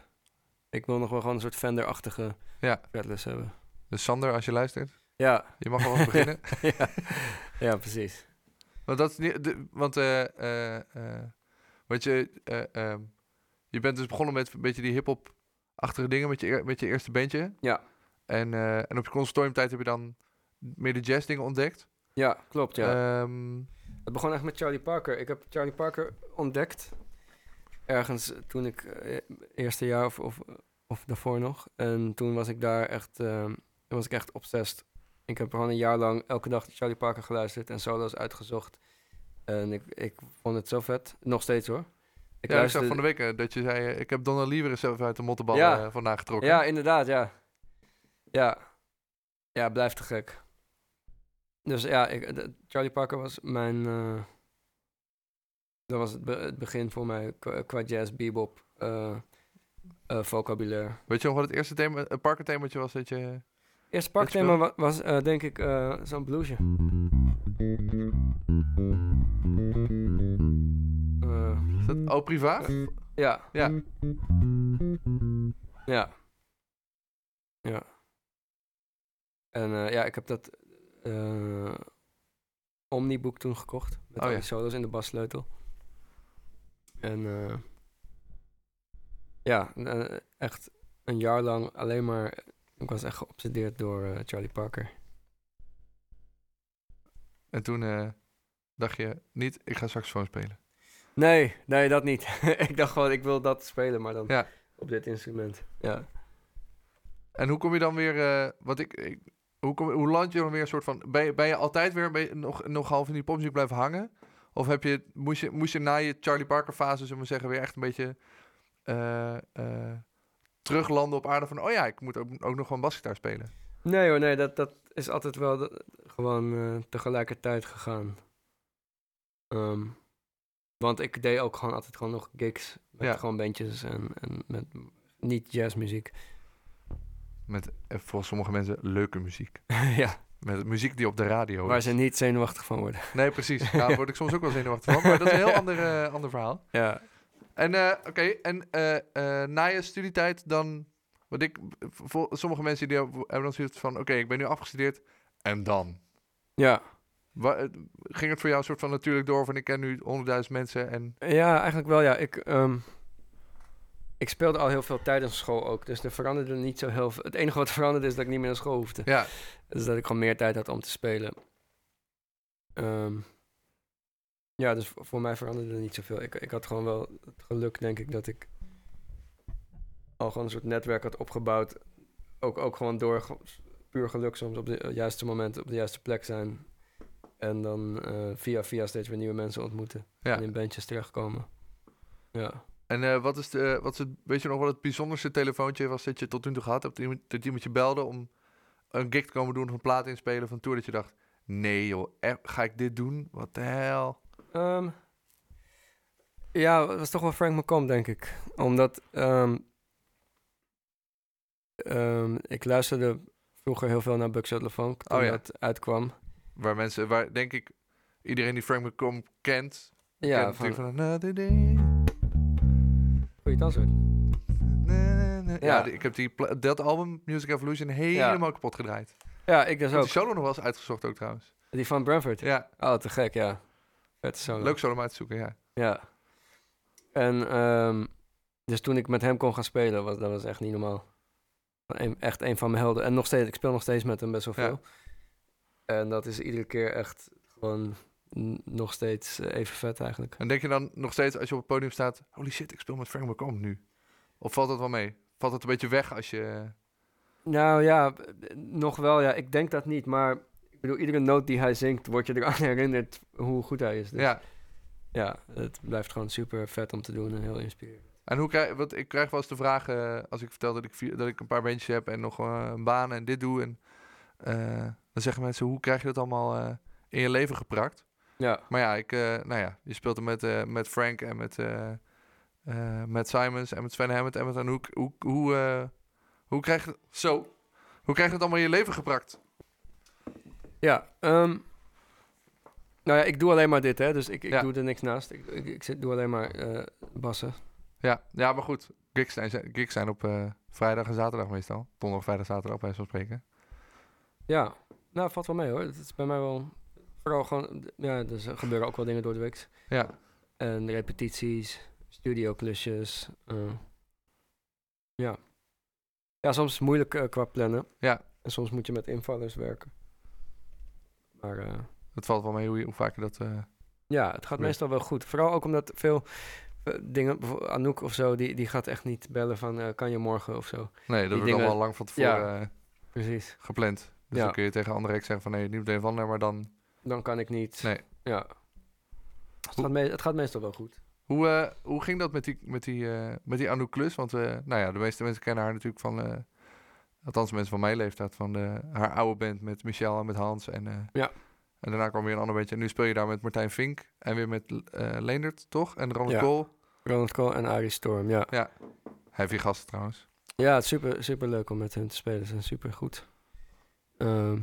[SPEAKER 4] Ik wil nog wel gewoon een soort Fender-achtige
[SPEAKER 3] Ja.
[SPEAKER 4] fretless hebben.
[SPEAKER 3] Dus Sander, als je luistert,
[SPEAKER 4] Ja,
[SPEAKER 3] je mag alvast beginnen.
[SPEAKER 4] ja. ja precies.
[SPEAKER 3] Want dat is niet, de- want, eh, eh, eh, want je, eh, ehm, je bent dus begonnen met een beetje die hip-hop-achtige dingen met je, eer- met je eerste bandje.
[SPEAKER 4] Ja.
[SPEAKER 3] En, eh, en op je conservatoriumtijd heb je dan meer de jazz dingen ontdekt.
[SPEAKER 4] Ja, klopt. Ja.
[SPEAKER 3] Ehm,
[SPEAKER 4] het begon echt met Charlie Parker. Ik heb Charlie Parker ontdekt ergens toen ik eh, eerste jaar of, of, of daarvoor nog. En toen was ik daar echt, ehm, was ik echt obsessed. Ik heb gewoon een jaar lang elke dag Charlie Parker geluisterd en solo's uitgezocht. En ik, ik vond het zo vet. Nog steeds hoor.
[SPEAKER 3] ja, ik zag van de week eh, dat je zei, eh, ik heb Donna Lee weer eens even uit de mottenbal
[SPEAKER 4] Ja.
[SPEAKER 3] eh, vandaag getrokken.
[SPEAKER 4] Ja, inderdaad, ja. Ja. Ja, blijft te gek. Dus ja, ik, d- Charlie Parker was mijn... eh, dat was het, be- het begin voor mij qua, qua jazz, bebop, eh eh, vocabulaire.
[SPEAKER 3] Weet je nog wat het eerste thema, het parkerthemaatje was dat je... Dit
[SPEAKER 4] Eerste parkthema wa- was eh, denk ik eh, zo'n bluesje. Eh,
[SPEAKER 3] Is dat au privaat?
[SPEAKER 4] ja.
[SPEAKER 3] Ja.
[SPEAKER 4] Ja. Ja. En eh, ja, ik heb dat eh Omniboek toen gekocht. Met
[SPEAKER 3] Oh
[SPEAKER 4] al
[SPEAKER 3] ja.
[SPEAKER 4] die solos in de bassleutel. En eh, ja, en, eh, echt een jaar lang alleen maar... Ik was echt geobsedeerd door eh, Charlie Parker.
[SPEAKER 3] En toen eh, dacht je, niet, ik ga saxofoon spelen.
[SPEAKER 4] Nee, nee, dat niet. ik dacht gewoon, ik wil dat spelen, maar dan
[SPEAKER 3] Ja.
[SPEAKER 4] op dit instrument. Ja.
[SPEAKER 3] En hoe kom je dan weer... eh, want ik, ik, Hoe, kom, hoe land je dan weer een soort van... Ben je, ben je altijd weer een beetje- nog, nog half in die popmuziek blijven hangen? Of heb je, moest, je, moest je na je Charlie Parker fase, zullen we zeggen, weer echt een beetje eh, eh, teruglanden op aarde van... Oh ja, ik moet ook, ook nog gewoon basgitaar spelen.
[SPEAKER 4] Nee hoor, nee, dat, dat is altijd wel dat- gewoon eh, tegelijkertijd gegaan. Ehm, want ik deed ook gewoon altijd gewoon nog gigs met
[SPEAKER 3] Ja.
[SPEAKER 4] gewoon bandjes en, en met niet jazzmuziek.
[SPEAKER 3] Met eh, volgens sommige mensen leuke muziek.
[SPEAKER 4] ja,
[SPEAKER 3] Met muziek die op de radio
[SPEAKER 4] waar
[SPEAKER 3] is.
[SPEAKER 4] ze niet zenuwachtig van worden.
[SPEAKER 3] Nee, precies. Daar word ik soms ook wel zenuwachtig van. Maar dat is een heel ander, eh, ander verhaal.
[SPEAKER 4] Ja.
[SPEAKER 3] En eh, oké, en eh, eh, na je studietijd dan... Wat ik, voor sommige mensen die hebben dan zoiets van... Oké, ik ben nu afgestudeerd. En dan?
[SPEAKER 4] Ja.
[SPEAKER 3] Wa- eh, ging het voor jou een soort van natuurlijk door van... Ik ken nu 100.000 mensen en...
[SPEAKER 4] ja, eigenlijk wel ja. Ik, ehm, ik speelde al heel veel tijdens school ook, dus er veranderde niet zo heel veel. Het enige wat veranderde is dat ik niet meer naar school hoefde.
[SPEAKER 3] Ja,
[SPEAKER 4] Dus dat ik gewoon meer tijd had om te spelen. Ehm, ja, dus voor voor mij veranderde er niet zoveel. Ik, ik had gewoon wel het geluk, denk ik, dat ik al gewoon een soort netwerk had opgebouwd. Ook, ook gewoon door ge- puur geluk soms op de eh, juiste moment op de juiste plek zijn. En dan eh, via via steeds weer nieuwe mensen ontmoeten.
[SPEAKER 3] Ja.
[SPEAKER 4] En in bandjes terechtkomen. Ja.
[SPEAKER 3] en eh, wat is, de, wat is het, weet je nog wat het bijzonderste telefoontje was dat je tot nu toe gehad hebt? Dat iemand, dat iemand je belde om een gig te komen doen of een plaat inspelen van een tour dat je dacht... Nee joh, eh, ga ik dit doen? Wat de hel?
[SPEAKER 4] Ehm, ja, dat was toch wel Frank McComb, denk ik. Omdat ehm, ehm, ik luisterde vroeger heel veel naar Bugs Sutherland Funk toen
[SPEAKER 3] Oh ja.
[SPEAKER 4] dat uitkwam.
[SPEAKER 3] Waar mensen, waar denk ik iedereen die Frank McComb kent, ja,
[SPEAKER 4] Ja,
[SPEAKER 3] kent
[SPEAKER 4] van
[SPEAKER 3] natuurlijk van Another Day.
[SPEAKER 4] goede danser.
[SPEAKER 3] Na, na, na. Ja,
[SPEAKER 4] Ja.
[SPEAKER 3] die- ik heb die pla- dat album Music Evolution helemaal kapot gedraaid. Ik
[SPEAKER 4] Ja, ik dus
[SPEAKER 3] heb
[SPEAKER 4] ook.
[SPEAKER 3] die solo nog wel eens uitgezocht ook trouwens.
[SPEAKER 4] Die van Brentford.
[SPEAKER 3] Ja,
[SPEAKER 4] Oh, te gek, ja. Vet solo.
[SPEAKER 3] leuk solo om uit te zoeken, ja.
[SPEAKER 4] Ja. En ehm, dus toen ik met hem kon gaan spelen, was, dat was echt niet normaal. Een- echt een van mijn helden. En nog steeds, ik speel nog steeds met hem best wel
[SPEAKER 3] Ja.
[SPEAKER 4] veel. En dat is iedere keer echt gewoon n- nog steeds eh, even vet eigenlijk.
[SPEAKER 3] En denk je dan nog steeds als je op het podium staat, holy shit, ik speel met Frank McComb nu. Of valt dat wel mee? Valt het een beetje weg als je...
[SPEAKER 4] Nou ja, b- b- nog wel ja. Ik denk dat niet, maar ik bedoel, iedere noot die hij zingt, word je eraan herinnerd hoe goed hij is. Dus
[SPEAKER 3] Ja.
[SPEAKER 4] ja, het blijft gewoon super vet om te doen en heel inspirerend.
[SPEAKER 3] En hoe krijg, want ik krijg wel eens de vraag, eh, als ik vertel dat ik, vier- dat ik een paar bandjes heb en nog eh, een baan en dit doe. En, eh, dan zeggen mensen, hoe krijg je dat allemaal eh, in je leven geprakt?
[SPEAKER 4] Ja,
[SPEAKER 3] Maar ja, ik, eh, nou ja, je speelt er met, eh, met Frank en met, eh, eh, met Simons en met Sven Hammond en met Anouk. Hoe, hoe, eh, hoe, krijg je, zo, hoe krijg je het allemaal in je leven geprakt?
[SPEAKER 4] Ja, ehm, nou ja, ik doe alleen maar dit, hè. Dus ik, ik
[SPEAKER 3] Ja.
[SPEAKER 4] doe er niks naast. Ik, ik, ik zit, doe alleen maar eh, bassen.
[SPEAKER 3] Ja, ja maar goed. Gigs zijn, gigs zijn op eh, vrijdag en zaterdag meestal. Donderdag, vrijdag, zaterdag bij zo'n spreken.
[SPEAKER 4] Ja, nou, valt wel mee, hoor. Het is bij mij wel... Vooral gewoon... Ja, dus er gebeuren ook wel dingen door de week.
[SPEAKER 3] Ja.
[SPEAKER 4] En repetities, studioklusjes. eh, ja. Ja, soms is het moeilijk eh, qua plannen.
[SPEAKER 3] Ja.
[SPEAKER 4] En soms moet je met invallers werken. Maar... eh,
[SPEAKER 3] Het valt wel mee hoe, je, hoe vaak je dat... eh,
[SPEAKER 4] Ja, het gaat
[SPEAKER 3] Ja.
[SPEAKER 4] meestal wel goed. Vooral ook omdat veel eh, dingen, bijvoorbeeld Anouk of zo, die, die gaat echt niet bellen van eh, kan je morgen of zo.
[SPEAKER 3] Nee, dat
[SPEAKER 4] Die
[SPEAKER 3] wordt
[SPEAKER 4] dingen-
[SPEAKER 3] allemaal lang van tevoren eh,
[SPEAKER 4] Precies.
[SPEAKER 3] gepland. Dus
[SPEAKER 4] Ja.
[SPEAKER 3] dan kun je tegen André zeggen van nee, niet meteen van maar dan...
[SPEAKER 4] Dan kan ik niet.
[SPEAKER 3] Nee.
[SPEAKER 4] Ja. Het gaat, me- het gaat meestal wel goed.
[SPEAKER 3] Hoe, eh, hoe ging dat met die, met die, eh, met die Anouk Klus? Want eh, nou ja, de meeste mensen kennen haar natuurlijk van... eh, althans, mensen van mijn leeftijd, van de, haar oude band met Michel en met Hans. En, eh,
[SPEAKER 4] Ja.
[SPEAKER 3] en daarna kwam weer een ander bandje. En nu speel je daar met Martijn Vink en weer met eh, Leendert, toch? En Ronald
[SPEAKER 4] Ja.
[SPEAKER 3] Kool.
[SPEAKER 4] Ronald Kool en Arie Storm, ja.
[SPEAKER 3] Heavy gasten trouwens.
[SPEAKER 4] Ja, het is super, super leuk om met hun te spelen. Ze zijn super goed. Ehm,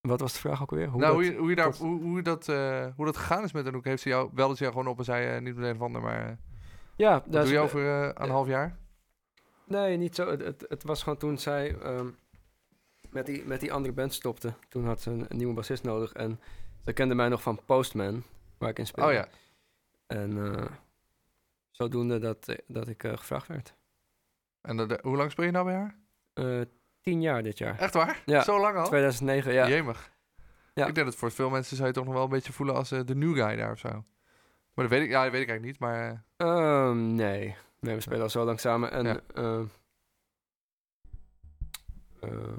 [SPEAKER 4] wat was de vraag ook weer? Hoe
[SPEAKER 3] nou,
[SPEAKER 4] dat-
[SPEAKER 3] hoe, je, hoe, je daar,
[SPEAKER 4] tot-
[SPEAKER 3] hoe, hoe, dat, eh, hoe dat gegaan is met Anouk. Heeft ze jou, belde ze jou gewoon op en zei eh, niet meteen van maar... eh,
[SPEAKER 4] ja,
[SPEAKER 3] wat doe
[SPEAKER 4] daar is-
[SPEAKER 3] je over eh, een half jaar?
[SPEAKER 4] Nee, niet zo. Het, het, het was gewoon toen zij ehm, met, die, met die andere band stopte. Toen had ze een, een nieuwe bassist nodig. En ze kende mij nog van Postman, waar ik in speelde.
[SPEAKER 3] Oh ja.
[SPEAKER 4] En eh, zodoende dat, dat ik eh, gevraagd werd.
[SPEAKER 3] En dat- hoe lang speel je nou bij haar?
[SPEAKER 4] Eh, tien jaar dit jaar.
[SPEAKER 3] Echt waar?
[SPEAKER 4] Ja,
[SPEAKER 3] Zo lang al?
[SPEAKER 4] 2009, ja.
[SPEAKER 3] Jemig.
[SPEAKER 4] Ja.
[SPEAKER 3] Ik denk dat voor veel mensen zou je toch nog wel een beetje voelen als eh, de new guy daar of zo. Maar dat weet ik, ja, dat weet ik eigenlijk niet. Maar eh,
[SPEAKER 4] Ehm, nee. nee, we spelen al zo lang samen. En,
[SPEAKER 3] Ja.
[SPEAKER 4] ehm, eh, eh,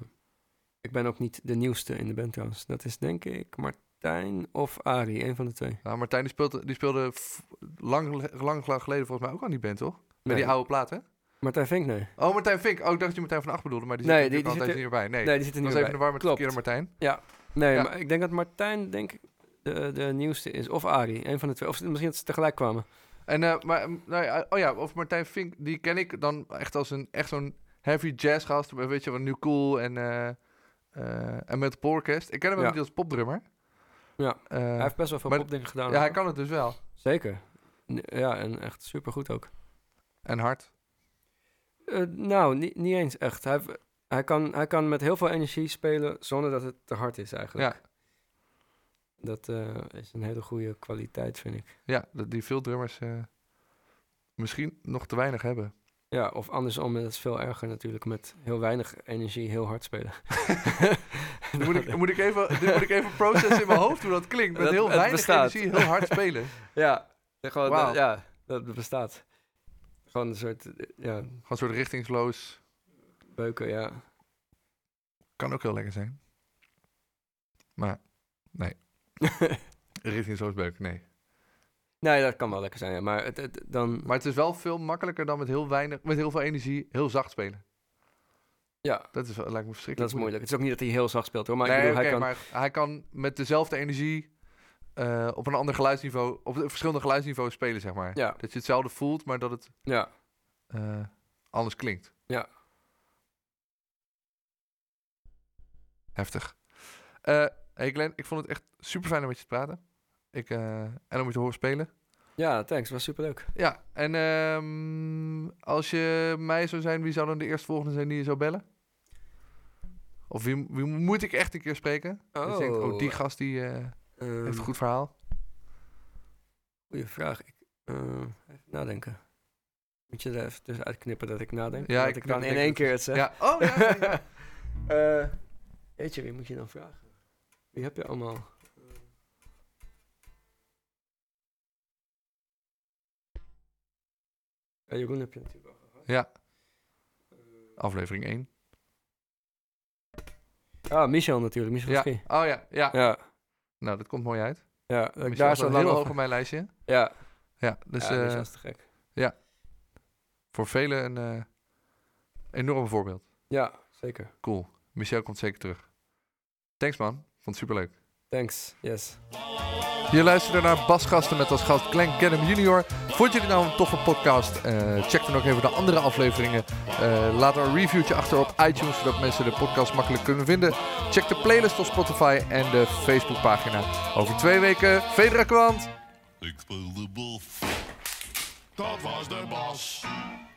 [SPEAKER 4] Ik ben ook niet de nieuwste in de band trouwens. Dat is denk ik Martijn of Ari, een van de twee.
[SPEAKER 3] Nou, Martijn die speelde, die speelde f- lang, lang, lang geleden volgens mij ook aan die band, toch? Met
[SPEAKER 4] Nee,
[SPEAKER 3] die oude plaat, hè?
[SPEAKER 4] Martijn Vink, nee.
[SPEAKER 3] Oh, Martijn Vink. Oh, ik dacht dat je Martijn van Acht bedoelde, maar die zit
[SPEAKER 4] Nee,
[SPEAKER 3] nee, natuurlijk
[SPEAKER 4] die-
[SPEAKER 3] altijd
[SPEAKER 4] die zit
[SPEAKER 3] hierbij. Nee,
[SPEAKER 4] Nee, die zit er
[SPEAKER 3] dat
[SPEAKER 4] niet
[SPEAKER 3] was
[SPEAKER 4] meer
[SPEAKER 3] even de war
[SPEAKER 4] bij.
[SPEAKER 3] met de
[SPEAKER 4] Klopt.
[SPEAKER 3] verkeerde Martijn.
[SPEAKER 4] Nee,
[SPEAKER 3] Ja.
[SPEAKER 4] maar ik denk dat Martijn denk ik, de, de nieuwste is. Of Ari, een van de twee. Of ze- misschien dat ze tegelijk kwamen.
[SPEAKER 3] En, eh, maar, mm, nou ja, oh ja, of Martijn Vink, die ken ik dan echt als een, echt zo'n heavy jazz gast. Weet je, wat nu cool en, eh eh en met Orkest. Ik ken hem ook
[SPEAKER 4] Ja.
[SPEAKER 3] niet als popdrummer.
[SPEAKER 4] Ja.
[SPEAKER 3] Eh,
[SPEAKER 4] hij heeft best wel veel
[SPEAKER 3] maar-
[SPEAKER 4] popdingen gedaan.
[SPEAKER 3] ja, hij
[SPEAKER 4] hoor.
[SPEAKER 3] kan het dus wel.
[SPEAKER 4] Zeker. N- Ja, en echt supergoed ook.
[SPEAKER 3] En hard.
[SPEAKER 4] Eh, nou, niet, niet eens echt. Hij, heeft- hij, kan, hij kan met heel veel energie spelen zonder dat het te hard is eigenlijk.
[SPEAKER 3] Ja.
[SPEAKER 4] Dat eh, is een hele goede kwaliteit, vind ik.
[SPEAKER 3] Ja, dat die veel drummers eh, misschien nog te weinig hebben.
[SPEAKER 4] Ja, of andersom, dat is veel erger natuurlijk. Met heel weinig energie heel hard spelen.
[SPEAKER 3] Dan moet, ik, moet, ik even, dit moet ik even processen in mijn hoofd hoe dat klinkt. Met
[SPEAKER 4] Dat-
[SPEAKER 3] heel
[SPEAKER 4] het
[SPEAKER 3] weinig
[SPEAKER 4] bestaat.
[SPEAKER 3] energie heel hard spelen.
[SPEAKER 4] Ja, gewoon,
[SPEAKER 3] Wauw.
[SPEAKER 4] dat- ja, dat bestaat. Gewoon een soort, eh, ja,
[SPEAKER 3] Gewoon een soort richtingsloos.
[SPEAKER 4] beuken, ja.
[SPEAKER 3] Kan ook heel lekker zijn. Maar, nee. richtingsloos beuk, nee.
[SPEAKER 4] nee, dat kan wel lekker zijn, ja. Maar het, het, dan,
[SPEAKER 3] Maar het is wel veel makkelijker dan met heel weinig, met heel veel energie, heel zacht spelen.
[SPEAKER 4] ja,
[SPEAKER 3] Dat is, wel- lijkt me
[SPEAKER 4] dat
[SPEAKER 3] verschrikkelijk.
[SPEAKER 4] is moeilijk. Het is ook niet dat hij heel zacht speelt, hoor. Maar
[SPEAKER 3] nee,
[SPEAKER 4] ik bedoel,
[SPEAKER 3] oké,
[SPEAKER 4] hij kan...
[SPEAKER 3] maar hij kan met dezelfde energie eh, op een ander geluidsniveau, op verschillende geluidsniveaus spelen, zeg maar.
[SPEAKER 4] Ja,
[SPEAKER 3] Dat je hetzelfde voelt, maar dat het
[SPEAKER 4] ja.
[SPEAKER 3] eh, anders klinkt.
[SPEAKER 4] Ja.
[SPEAKER 3] Heftig. Eh hey Glenn, ik vond het echt super fijn om met je te praten. Ik, eh, en om je te horen spelen.
[SPEAKER 4] Ja, thanks. was superleuk.
[SPEAKER 3] Ja, en ehm, als je mij zou zijn, wie zou dan de eerstvolgende zijn die je zou bellen? Of wie, wie moet ik echt een keer spreken? Oh, dus je denkt, oh die gast die eh,
[SPEAKER 4] ehm,
[SPEAKER 3] heeft een goed verhaal.
[SPEAKER 4] Goeie vraag. Ik, eh, even nadenken. Moet je er even tussen uitknippen dat ik nadenk?
[SPEAKER 3] Ja, ik
[SPEAKER 4] dat ik, dan
[SPEAKER 3] knip
[SPEAKER 4] in
[SPEAKER 3] het
[SPEAKER 4] één keer het zeg.
[SPEAKER 3] Ja, oh ja. ja, ja.
[SPEAKER 4] Eh, Weet je, wie moet je dan vragen? Wie heb je allemaal? Ja, Jeroen heb je natuurlijk al gehad.
[SPEAKER 3] Ja. Aflevering 1.
[SPEAKER 4] Ah, Michel natuurlijk, Michel
[SPEAKER 3] Ja.
[SPEAKER 4] Verschie.
[SPEAKER 3] Oh ja, ja.
[SPEAKER 4] Ja,
[SPEAKER 3] Nou, dat komt mooi uit.
[SPEAKER 4] ja, dat ik
[SPEAKER 3] Michel
[SPEAKER 4] daar
[SPEAKER 3] staat
[SPEAKER 4] zo
[SPEAKER 3] heel
[SPEAKER 4] lang
[SPEAKER 3] hoog
[SPEAKER 4] over-
[SPEAKER 3] op mijn lijstje.
[SPEAKER 4] Ja,
[SPEAKER 3] Ja, dus
[SPEAKER 4] ja, Michel
[SPEAKER 3] eh,
[SPEAKER 4] is te gek.
[SPEAKER 3] voor velen een eh, enorm voorbeeld.
[SPEAKER 4] Ja, zeker.
[SPEAKER 3] Cool. Michel komt zeker terug. Thanks man, vond het superleuk.
[SPEAKER 4] Thanks, yes.
[SPEAKER 3] Je luisterde naar Basgasten met als gast Glenn Canham Jr. Vond je dit nou een toffe podcast? Eh, check dan ook even de andere afleveringen. Eh, laat een reviewtje achter op iTunes, zodat mensen de podcast makkelijk kunnen vinden. Check de playlist op Spotify en de Facebookpagina. Over twee weken, Vedra Kwant!
[SPEAKER 1] Ik speel de bof.
[SPEAKER 2] Dat was de bas.